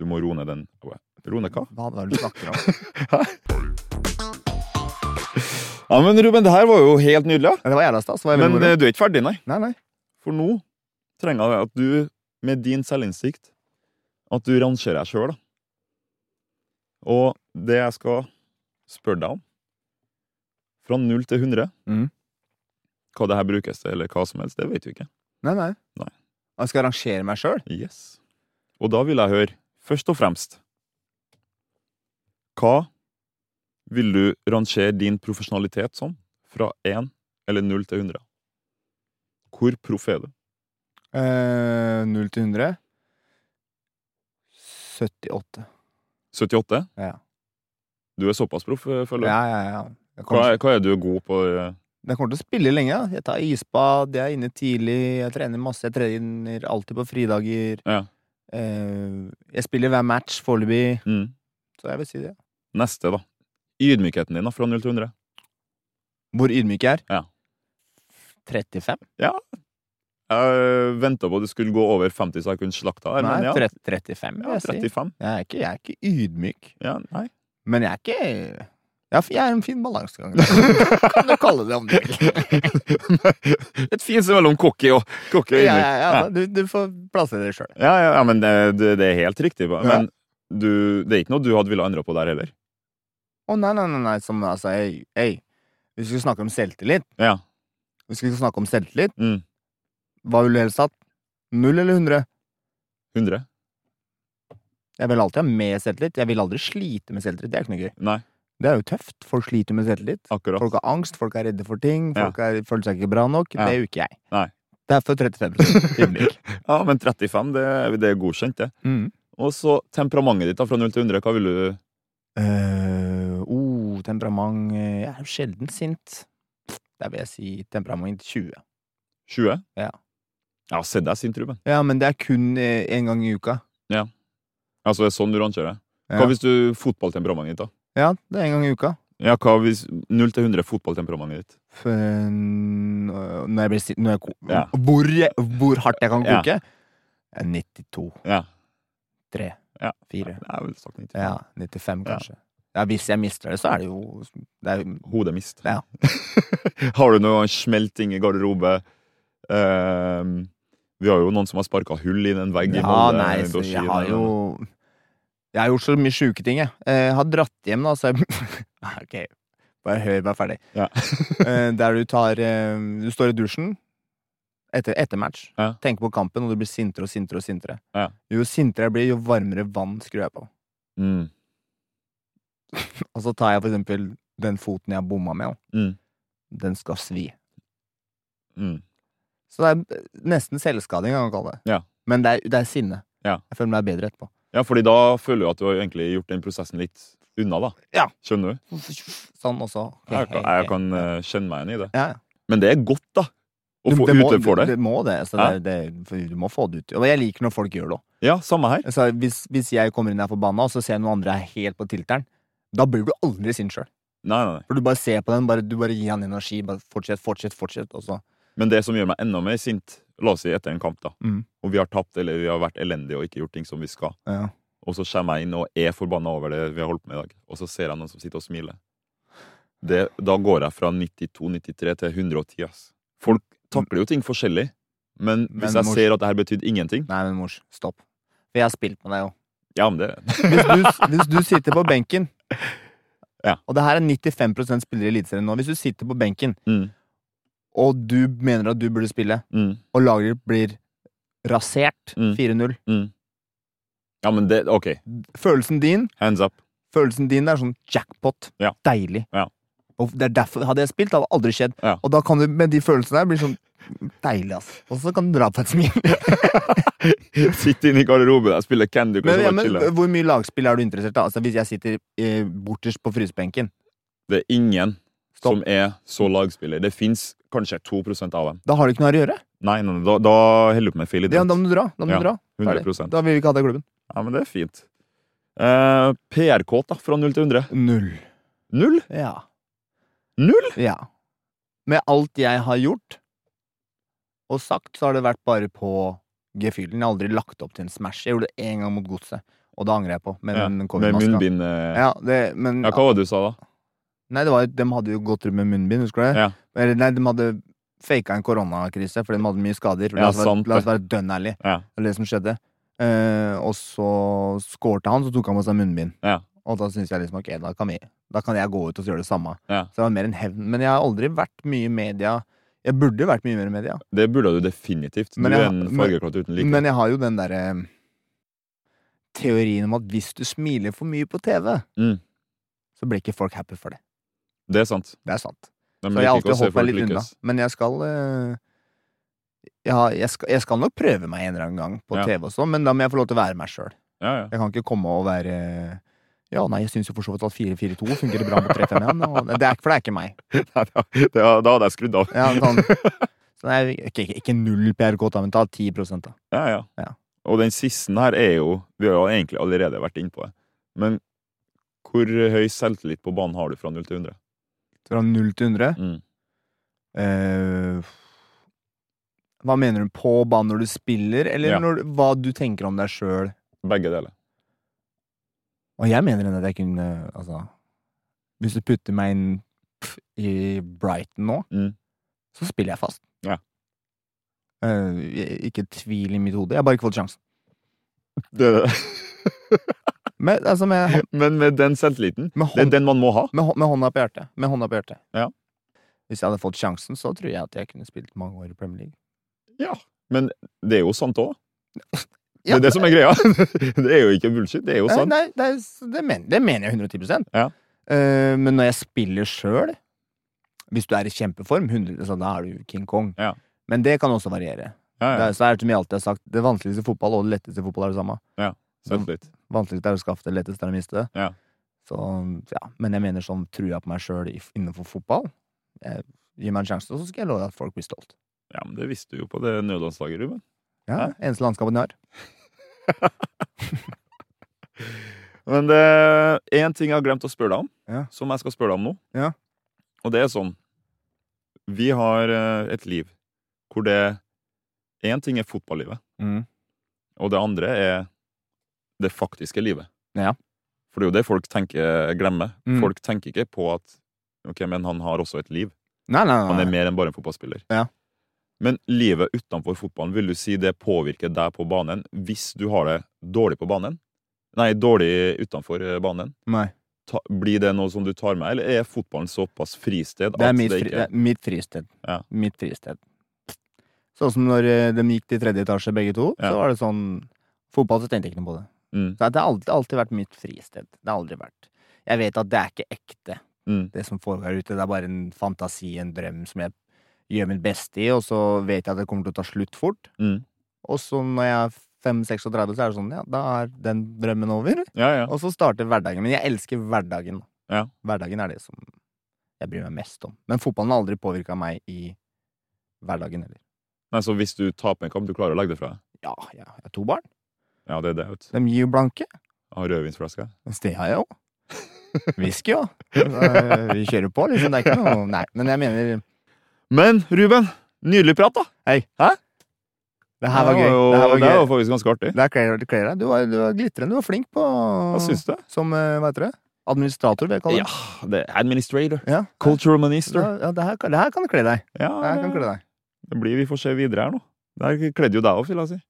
Speaker 1: du må roe ned den Jeg bare, Roe ned hva?
Speaker 2: Hva er det du snakker om?
Speaker 1: Ja, men Ruben, det her var jo helt nydelig. ja.
Speaker 2: Ja, Det var jævla stas. det var veldig
Speaker 1: Men
Speaker 2: moro.
Speaker 1: eh, du er ikke ferdig, nei.
Speaker 2: Nei, nei.
Speaker 1: For nå trenger jeg at du, med din selvinnsikt, at du rangerer deg sjøl, da. Og det jeg skal spørre deg om, fra 0 til 100
Speaker 2: Mhm.
Speaker 1: Hva det her brukes til, eller hva som helst, det vet vi ikke.
Speaker 2: Nei, nei.
Speaker 1: Nei.
Speaker 2: Jeg skal rangere meg sjøl.
Speaker 1: Yes. Og da vil jeg høre, først og fremst Hva vil du rangere din profesjonalitet som, fra 1 eller 0 til 100? Hvor proff er du?
Speaker 2: Eh, 0 til 100. 78.
Speaker 1: 78?
Speaker 2: Ja.
Speaker 1: Du er såpass proff, eh, føler jeg.
Speaker 2: Ja, ja, ja.
Speaker 1: Hva,
Speaker 2: Jeg kommer,
Speaker 1: er- hva er du god på? eh?
Speaker 2: jeg kommer til å spille lenge. da. Jeg tar isbad, jeg er inne tidlig, jeg trener masse. Jeg trener alltid på fridager.
Speaker 1: Ja.
Speaker 2: Eh, jeg spiller hver match foreløpig,
Speaker 1: Mm.
Speaker 2: så jeg vil si det.
Speaker 1: Neste, da. Ydmykheten din da, fra 0 til 100?
Speaker 2: Hvor ydmyk jeg er?
Speaker 1: Ja.
Speaker 2: 35?
Speaker 1: Jeg venta på at du skulle gå over 50, så jeg kunne slakta her.
Speaker 2: Nei,
Speaker 1: men ja,
Speaker 2: 30, 35 vil
Speaker 1: ja,
Speaker 2: jeg si.
Speaker 1: 35.
Speaker 2: Jeg er, ikke, jeg er ikke ydmyk,
Speaker 1: Ja, nei.
Speaker 2: men jeg er ikke Jeg er- Jeg er en fin balansegang. kan du kalle det om du vil.
Speaker 1: Et fint sted mellom cocky og cocky og
Speaker 2: Ja,
Speaker 1: ydmyk.
Speaker 2: ja, ja, du, du får plassere det sjøl.
Speaker 1: Ja, ja, ja, men det, det det er helt riktig. ba. Men du, det er ikke noe du hadde ville endra på der heller.
Speaker 2: Å nei, nei, nei, nei, som altså, ei, ei. Hvis vi skal snakke om selvtillit,
Speaker 1: Ja.
Speaker 2: hvis vi skal snakke om selvtillit,
Speaker 1: Mm.
Speaker 2: hva vil du helst hatt? Null eller hundre?
Speaker 1: 100?
Speaker 2: Jeg vil alltid ha mer selvtillit. Jeg vil aldri slite med selvtillit. Det er ikke noe gøy.
Speaker 1: Nei,
Speaker 2: Det er jo tøft. Folk sliter med selvtillit.
Speaker 1: akkurat.
Speaker 2: Folk har angst, folk er redde for ting,
Speaker 1: Ja.
Speaker 2: folk er, føler seg ikke bra nok.
Speaker 1: Ja.
Speaker 2: Det er jo ikke jeg.
Speaker 1: Nei.
Speaker 2: Derfor 35 ydmyk.
Speaker 1: Ja, men 35, det, det er godkjent, det.
Speaker 2: Mm.
Speaker 1: Og så temperamentet ditt da, fra 0 til 100, hva vil du
Speaker 2: Eh, oh, temperament eh, Jeg er jo sjelden sint. Der vil jeg si temperament 20.
Speaker 1: 20?
Speaker 2: Ja.
Speaker 1: Jeg har sett deg sint, Ruben.
Speaker 2: Ja, men det er kun eh, en gang i uka.
Speaker 1: Altså, det er sånn du rangerer. Hva
Speaker 2: Ja.
Speaker 1: hvis du fotballtemperamentet ditt, da?
Speaker 2: Ja, det er en gang i uka.
Speaker 1: Ja, hva hvis 0 til 100 fotballtemperamentet ditt?
Speaker 2: For, eh, øh, når jeg blir sint når jeg ko-
Speaker 1: Ja.
Speaker 2: hvor, jeg- hvor hardt jeg kan
Speaker 1: Ja.
Speaker 2: koke? Eh, 92.
Speaker 1: Ja.
Speaker 2: 3.
Speaker 1: Ja.
Speaker 2: 4.
Speaker 1: Det er vel sagt 90.
Speaker 2: Ja, 95,
Speaker 1: Ja.
Speaker 2: kanskje. Ja, hvis jeg mister det, så er det jo det er, jo-
Speaker 1: Hodet mist.
Speaker 2: Ja.
Speaker 1: har du noe smelting i garderobe? Ehm, vi har jo noen som har sparka hull i en vegg i
Speaker 2: Ja,
Speaker 1: Molde,
Speaker 2: nei, så
Speaker 1: Doshi,
Speaker 2: jeg har
Speaker 1: men-
Speaker 2: jo Jeg har gjort så mye sjuke ting, jeg. Eh, Jeg har dratt hjem, da, så jeg Ok, bare hør meg ferdig.
Speaker 1: Ja.
Speaker 2: Eh, Der du tar eh, Du står i dusjen etter, etter match,
Speaker 1: Ja.
Speaker 2: tenker på kampen, og du blir sintere og sintere og sintere.
Speaker 1: Ja.
Speaker 2: Jo sintere jeg blir, jo varmere vann skrur jeg på.
Speaker 1: Mm.
Speaker 2: Og så tar jeg for eksempel den foten jeg har bomma med,
Speaker 1: Mm.
Speaker 2: den skal svi.
Speaker 1: Mm.
Speaker 2: Så det er eh, nesten selvskading, kan man kalle det.
Speaker 1: Ja.
Speaker 2: Men det er, det er sinne.
Speaker 1: Ja.
Speaker 2: Jeg føler meg bedre etterpå.
Speaker 1: ja, fordi da føler du at du har egentlig gjort den prosessen litt unna, da.
Speaker 2: Ja.
Speaker 1: Skjønner du?
Speaker 2: Sånn også.
Speaker 1: Jeg, kan- jeg kan eh, kjenne meg igjen i det.
Speaker 2: ja.
Speaker 1: Men det er godt, da. Å
Speaker 2: Du-
Speaker 1: få
Speaker 2: det må-
Speaker 1: utløp for
Speaker 2: Du,
Speaker 1: det.
Speaker 2: du må det. Så det, er- det, for du må få det ut. Og jeg liker når folk gjør det òg.
Speaker 1: Ja, samme her.
Speaker 2: Altså, hvis, hvis jeg kommer inn og er forbanna, og så ser jeg noen andre er helt på tilteren, da blir du aldri sint sjøl.
Speaker 1: Nei, nei, nei.
Speaker 2: For du bare ser på den, bare, du bare gir han energi. Bare fortsett, fortsett, fortsett. Og så
Speaker 1: Men det som gjør meg enda mer sint, la oss si etter en kamp, da,
Speaker 2: Mm.
Speaker 1: og vi har tapt eller vi har vært elendige og ikke gjort ting som vi skal,
Speaker 2: ja.
Speaker 1: og så kommer jeg inn og er forbanna over det vi har holdt på med i dag, og så ser jeg noen som sitter og smiler. Det, da går jeg fra 92-93 til 110, ass. Folk takler jo ting forskjellig, men hvis
Speaker 2: Men
Speaker 1: jeg
Speaker 2: mors-
Speaker 1: ser at det her betydde ingenting
Speaker 2: Nei, men mors, stopp. For jeg har spilt med deg jo.
Speaker 1: Ja, men det
Speaker 2: Hvis du, hvis du sitter på benken
Speaker 1: Ja.
Speaker 2: Og det her er 95 spillere i Eliteserien nå. Hvis du sitter på benken,
Speaker 1: mm,
Speaker 2: og du mener at du burde spille,
Speaker 1: mm,
Speaker 2: og laget ditt blir rasert
Speaker 1: Mm.
Speaker 2: 4-0
Speaker 1: mm. Ja, men det Ok,
Speaker 2: Følelsen din
Speaker 1: hands up.
Speaker 2: Følelsen din er sånn jackpot.
Speaker 1: Ja.
Speaker 2: Deilig.
Speaker 1: Ja.
Speaker 2: Og det er derfor Hadde jeg spilt, det hadde aldri skjedd.
Speaker 1: Ja.
Speaker 2: Og da kan du med de følelsene der bli sånn deilig, ass. Og så kan du dra på et smil.
Speaker 1: Sitte inne i garderoben og spille Candy Crush
Speaker 2: Men,
Speaker 1: og
Speaker 2: ja,
Speaker 1: bare
Speaker 2: men eh,
Speaker 1: chille.
Speaker 2: hvor mye lagspill er du interessert i? da? Altså, hvis jeg sitter eh, borterst på frysebenken,
Speaker 1: Det er ingen
Speaker 2: Stopp.
Speaker 1: som er så lagspiller. Det fins kanskje 2 av dem.
Speaker 2: da har du ikke noe her å gjøre.
Speaker 1: Nei, nei, nei, da, da holder du på med feil idrett.
Speaker 2: Ja, da må du dra. Da må
Speaker 1: Ja,
Speaker 2: du dra. Ferdig.
Speaker 1: 100%.
Speaker 2: Da vil vi ikke ha deg i klubben.
Speaker 1: Ja, men det er fint. Eh, PR-kåt, da, fra 0 til 100.
Speaker 2: Null.
Speaker 1: Null?
Speaker 2: Ja.
Speaker 1: Null?
Speaker 2: ja. Med alt jeg har gjort og sagt, så har det vært bare på gefühlen. Jeg har aldri lagt opp til en smash. Jeg gjorde det én gang mot godset, og da angrer jeg på. Med
Speaker 1: Ja,
Speaker 2: den
Speaker 1: Med
Speaker 2: covid-maska.
Speaker 1: munnbind. eh.
Speaker 2: Ja, det, men
Speaker 1: Ja, hva var det du sa, da?
Speaker 2: Nei, det var, de hadde jo gått rundt med munnbind, husker du det?
Speaker 1: Ja.
Speaker 2: Eller nei, de hadde faka en koronakrise fordi de hadde mye skader.
Speaker 1: Ja,
Speaker 2: la, oss være,
Speaker 1: sant det.
Speaker 2: la oss være dønn ærlig.
Speaker 1: Ja.
Speaker 2: Det er det som skjedde. Eh, og så skårte han, så tok han på seg munnbind.
Speaker 1: Ja.
Speaker 2: Og da syntes jeg liksom ok, da kan, vi, da kan jeg gå ut og gjøre det samme.
Speaker 1: Ja.
Speaker 2: Så det var mer en hevn. Men jeg har aldri vært mye i media. Jeg burde vært mye mer i media.
Speaker 1: Det burde du definitivt. Du
Speaker 2: Men
Speaker 1: er
Speaker 2: jeg-
Speaker 1: en
Speaker 2: men-
Speaker 1: fargeklatt uten like.
Speaker 2: Men jeg har jo den derre eh, teorien om at hvis du smiler for mye på TV,
Speaker 1: Mm.
Speaker 2: så blir ikke folk happy for det.
Speaker 1: Det er sant.
Speaker 2: Det er sant.
Speaker 1: De
Speaker 2: Så
Speaker 1: liker
Speaker 2: jeg har
Speaker 1: ikke å
Speaker 2: alltid
Speaker 1: se
Speaker 2: holdt meg
Speaker 1: folk
Speaker 2: litt unna.
Speaker 1: lykkes.
Speaker 2: Men jeg skal, eh, ja, jeg, skal, jeg skal nok prøve meg en eller annen gang på
Speaker 1: Ja.
Speaker 2: TV og sånn, men da må jeg få lov til å være meg sjøl.
Speaker 1: Ja, ja.
Speaker 2: Jeg kan ikke komme og være Ja, nei, jeg syns jo for så vidt at 4-4-2 fungerer bra mot 3-5-1, og- det er- for det er ikke meg.
Speaker 1: Nei, da, da da hadde jeg skrudd av.
Speaker 2: Ja, sånn, så nei, ikke, ikke, ikke null PRK, da, men ta 10 da.
Speaker 1: Ja, ja.
Speaker 2: Ja.
Speaker 1: Og den siste her er jo Vi har jo egentlig allerede vært inne på det. Men hvor høy selvtillit på banen har du fra 0 til 100?
Speaker 2: Fra 0 til 100.
Speaker 1: Mm.
Speaker 2: Eh, hva mener du på banen når du spiller, eller
Speaker 1: Ja.
Speaker 2: når, hva du tenker om deg sjøl
Speaker 1: Begge deler.
Speaker 2: Og jeg mener den at jeg kunne Altså Hvis du putter meg inn pff, i Brighton nå,
Speaker 1: Mm.
Speaker 2: så spiller jeg fast.
Speaker 1: Ja.
Speaker 2: Eh, jeg- ikke tvil i mitt hode. Jeg har bare ikke fått sjansen.
Speaker 1: Det,
Speaker 2: Men, altså, med,
Speaker 1: men med den selvtilliten
Speaker 2: Med
Speaker 1: Det
Speaker 2: hånd-
Speaker 1: er den man må ha.
Speaker 2: med, hå- med hånda på hjertet. Med hånda på hjertet.
Speaker 1: Ja.
Speaker 2: Hvis jeg hadde fått sjansen, så tror jeg at jeg kunne spilt mange år i Premier League.
Speaker 1: Ja, men det er jo sant òg. Det
Speaker 2: Ja,
Speaker 1: er det som er greia. Det er jo ikke bullshit. Det er jo
Speaker 2: Nei,
Speaker 1: sant.
Speaker 2: Eh, nei, det, er, s- det, mener, det mener jeg 110
Speaker 1: Ja.
Speaker 2: Eh, Men når jeg spiller sjøl Hvis du er i kjempeform, 100, så da er du King Kong.
Speaker 1: Ja.
Speaker 2: Men det kan også variere.
Speaker 1: Ja,
Speaker 2: Det
Speaker 1: ja.
Speaker 2: er, så er det som jeg alltid har sagt, det vanskeligste i fotball og det letteste i fotball er det samme.
Speaker 1: Selvtillit.
Speaker 2: Vanskeligste er å skaffe det, letteste er å miste det.
Speaker 1: Ja.
Speaker 2: Så, ja. Men jeg mener sånn trua på meg sjøl innenfor fotball. Jeg, gi meg en sjanse, så skal jeg love at folk blir stolt.
Speaker 1: Ja, men det visste du jo på det nødlandslaget, Ruben.
Speaker 2: Ja, Eneste landskapet de har.
Speaker 1: Men det er én ting jeg har glemt å spørre deg om,
Speaker 2: Ja.
Speaker 1: som jeg skal spørre deg om nå.
Speaker 2: Ja.
Speaker 1: Og det er sånn Vi har eh, et liv hvor det Én ting er fotballivet, og det andre er det faktiske livet.
Speaker 2: Ja.
Speaker 1: For det er jo det folk tenker, glemmer.
Speaker 2: Mm.
Speaker 1: Folk tenker ikke på at Ok, men han har også et liv.
Speaker 2: Nei, nei,
Speaker 1: Han
Speaker 2: nei.
Speaker 1: er mer enn bare en fotballspiller.
Speaker 2: Ja.
Speaker 1: Men livet utenfor fotballen, vil du si det påvirker deg på banen hvis du har det dårlig på banen? Nei, dårlig utenfor eh, banen.
Speaker 2: nei.
Speaker 1: Ta, blir det noe som du tar med, eller er fotballen såpass fristed
Speaker 2: Det er
Speaker 1: at
Speaker 2: mitt,
Speaker 1: det
Speaker 2: fri, det
Speaker 1: ikke
Speaker 2: er mitt fristed.
Speaker 1: Ja.
Speaker 2: Mitt fristed. Sånn som når eh, de gikk til tredje etasje, begge to,
Speaker 1: Ja.
Speaker 2: så var det sånn Fotball så tenkte jeg ikke noe på det.
Speaker 1: Mm.
Speaker 2: Så det har alltid, alltid vært mitt fristed. Det har aldri vært Jeg vet at det er ikke ekte,
Speaker 1: Mm.
Speaker 2: det som foregår ute. Det er bare en fantasi, en drøm, som jeg gjør mitt beste i, og så vet jeg at det kommer til å ta slutt fort.
Speaker 1: Mm.
Speaker 2: Og så når jeg er 5-36, så er det sånn, ja, da er den drømmen over.
Speaker 1: Ja, ja.
Speaker 2: Og så starter hverdagen. Men jeg elsker hverdagen.
Speaker 1: Ja.
Speaker 2: Hverdagen er det som jeg bryr meg mest om. Men fotballen har aldri påvirka meg i hverdagen heller.
Speaker 1: Nei, så hvis du taper en kamp, du klarer å legge det fra deg?
Speaker 2: Ja, ja, jeg har to barn.
Speaker 1: Ja, det er det, vet du.
Speaker 2: De gir jo blanke.
Speaker 1: Jeg Har rødvinsflaske.
Speaker 2: Men det har jeg òg. Whisky òg. Vi kjører på, liksom. Det er ikke noe Nei, men jeg mener
Speaker 1: Men Ruben, nydelig prat, da!
Speaker 2: Hei, hæ? Det her var gøy.
Speaker 1: jo,
Speaker 2: Det her var
Speaker 1: Det var
Speaker 2: gøy.
Speaker 1: faktisk ganske artig.
Speaker 2: Det her kler det kler deg. Du var, du var glitrende. Du var flink på
Speaker 1: Hva syns du?
Speaker 2: Som, eh, hva heter det? Administrator, vil jeg kalle
Speaker 1: Ja,
Speaker 2: det.
Speaker 1: det er administrator.
Speaker 2: Ja.
Speaker 1: Cultural minister.
Speaker 2: Ja, det, her, det her kan kle deg.
Speaker 1: Ja,
Speaker 2: Det her kan
Speaker 1: det,
Speaker 2: kle deg.
Speaker 1: det blir Vi får se videre her nå. Det her kledde jo deg òg, vil jeg si.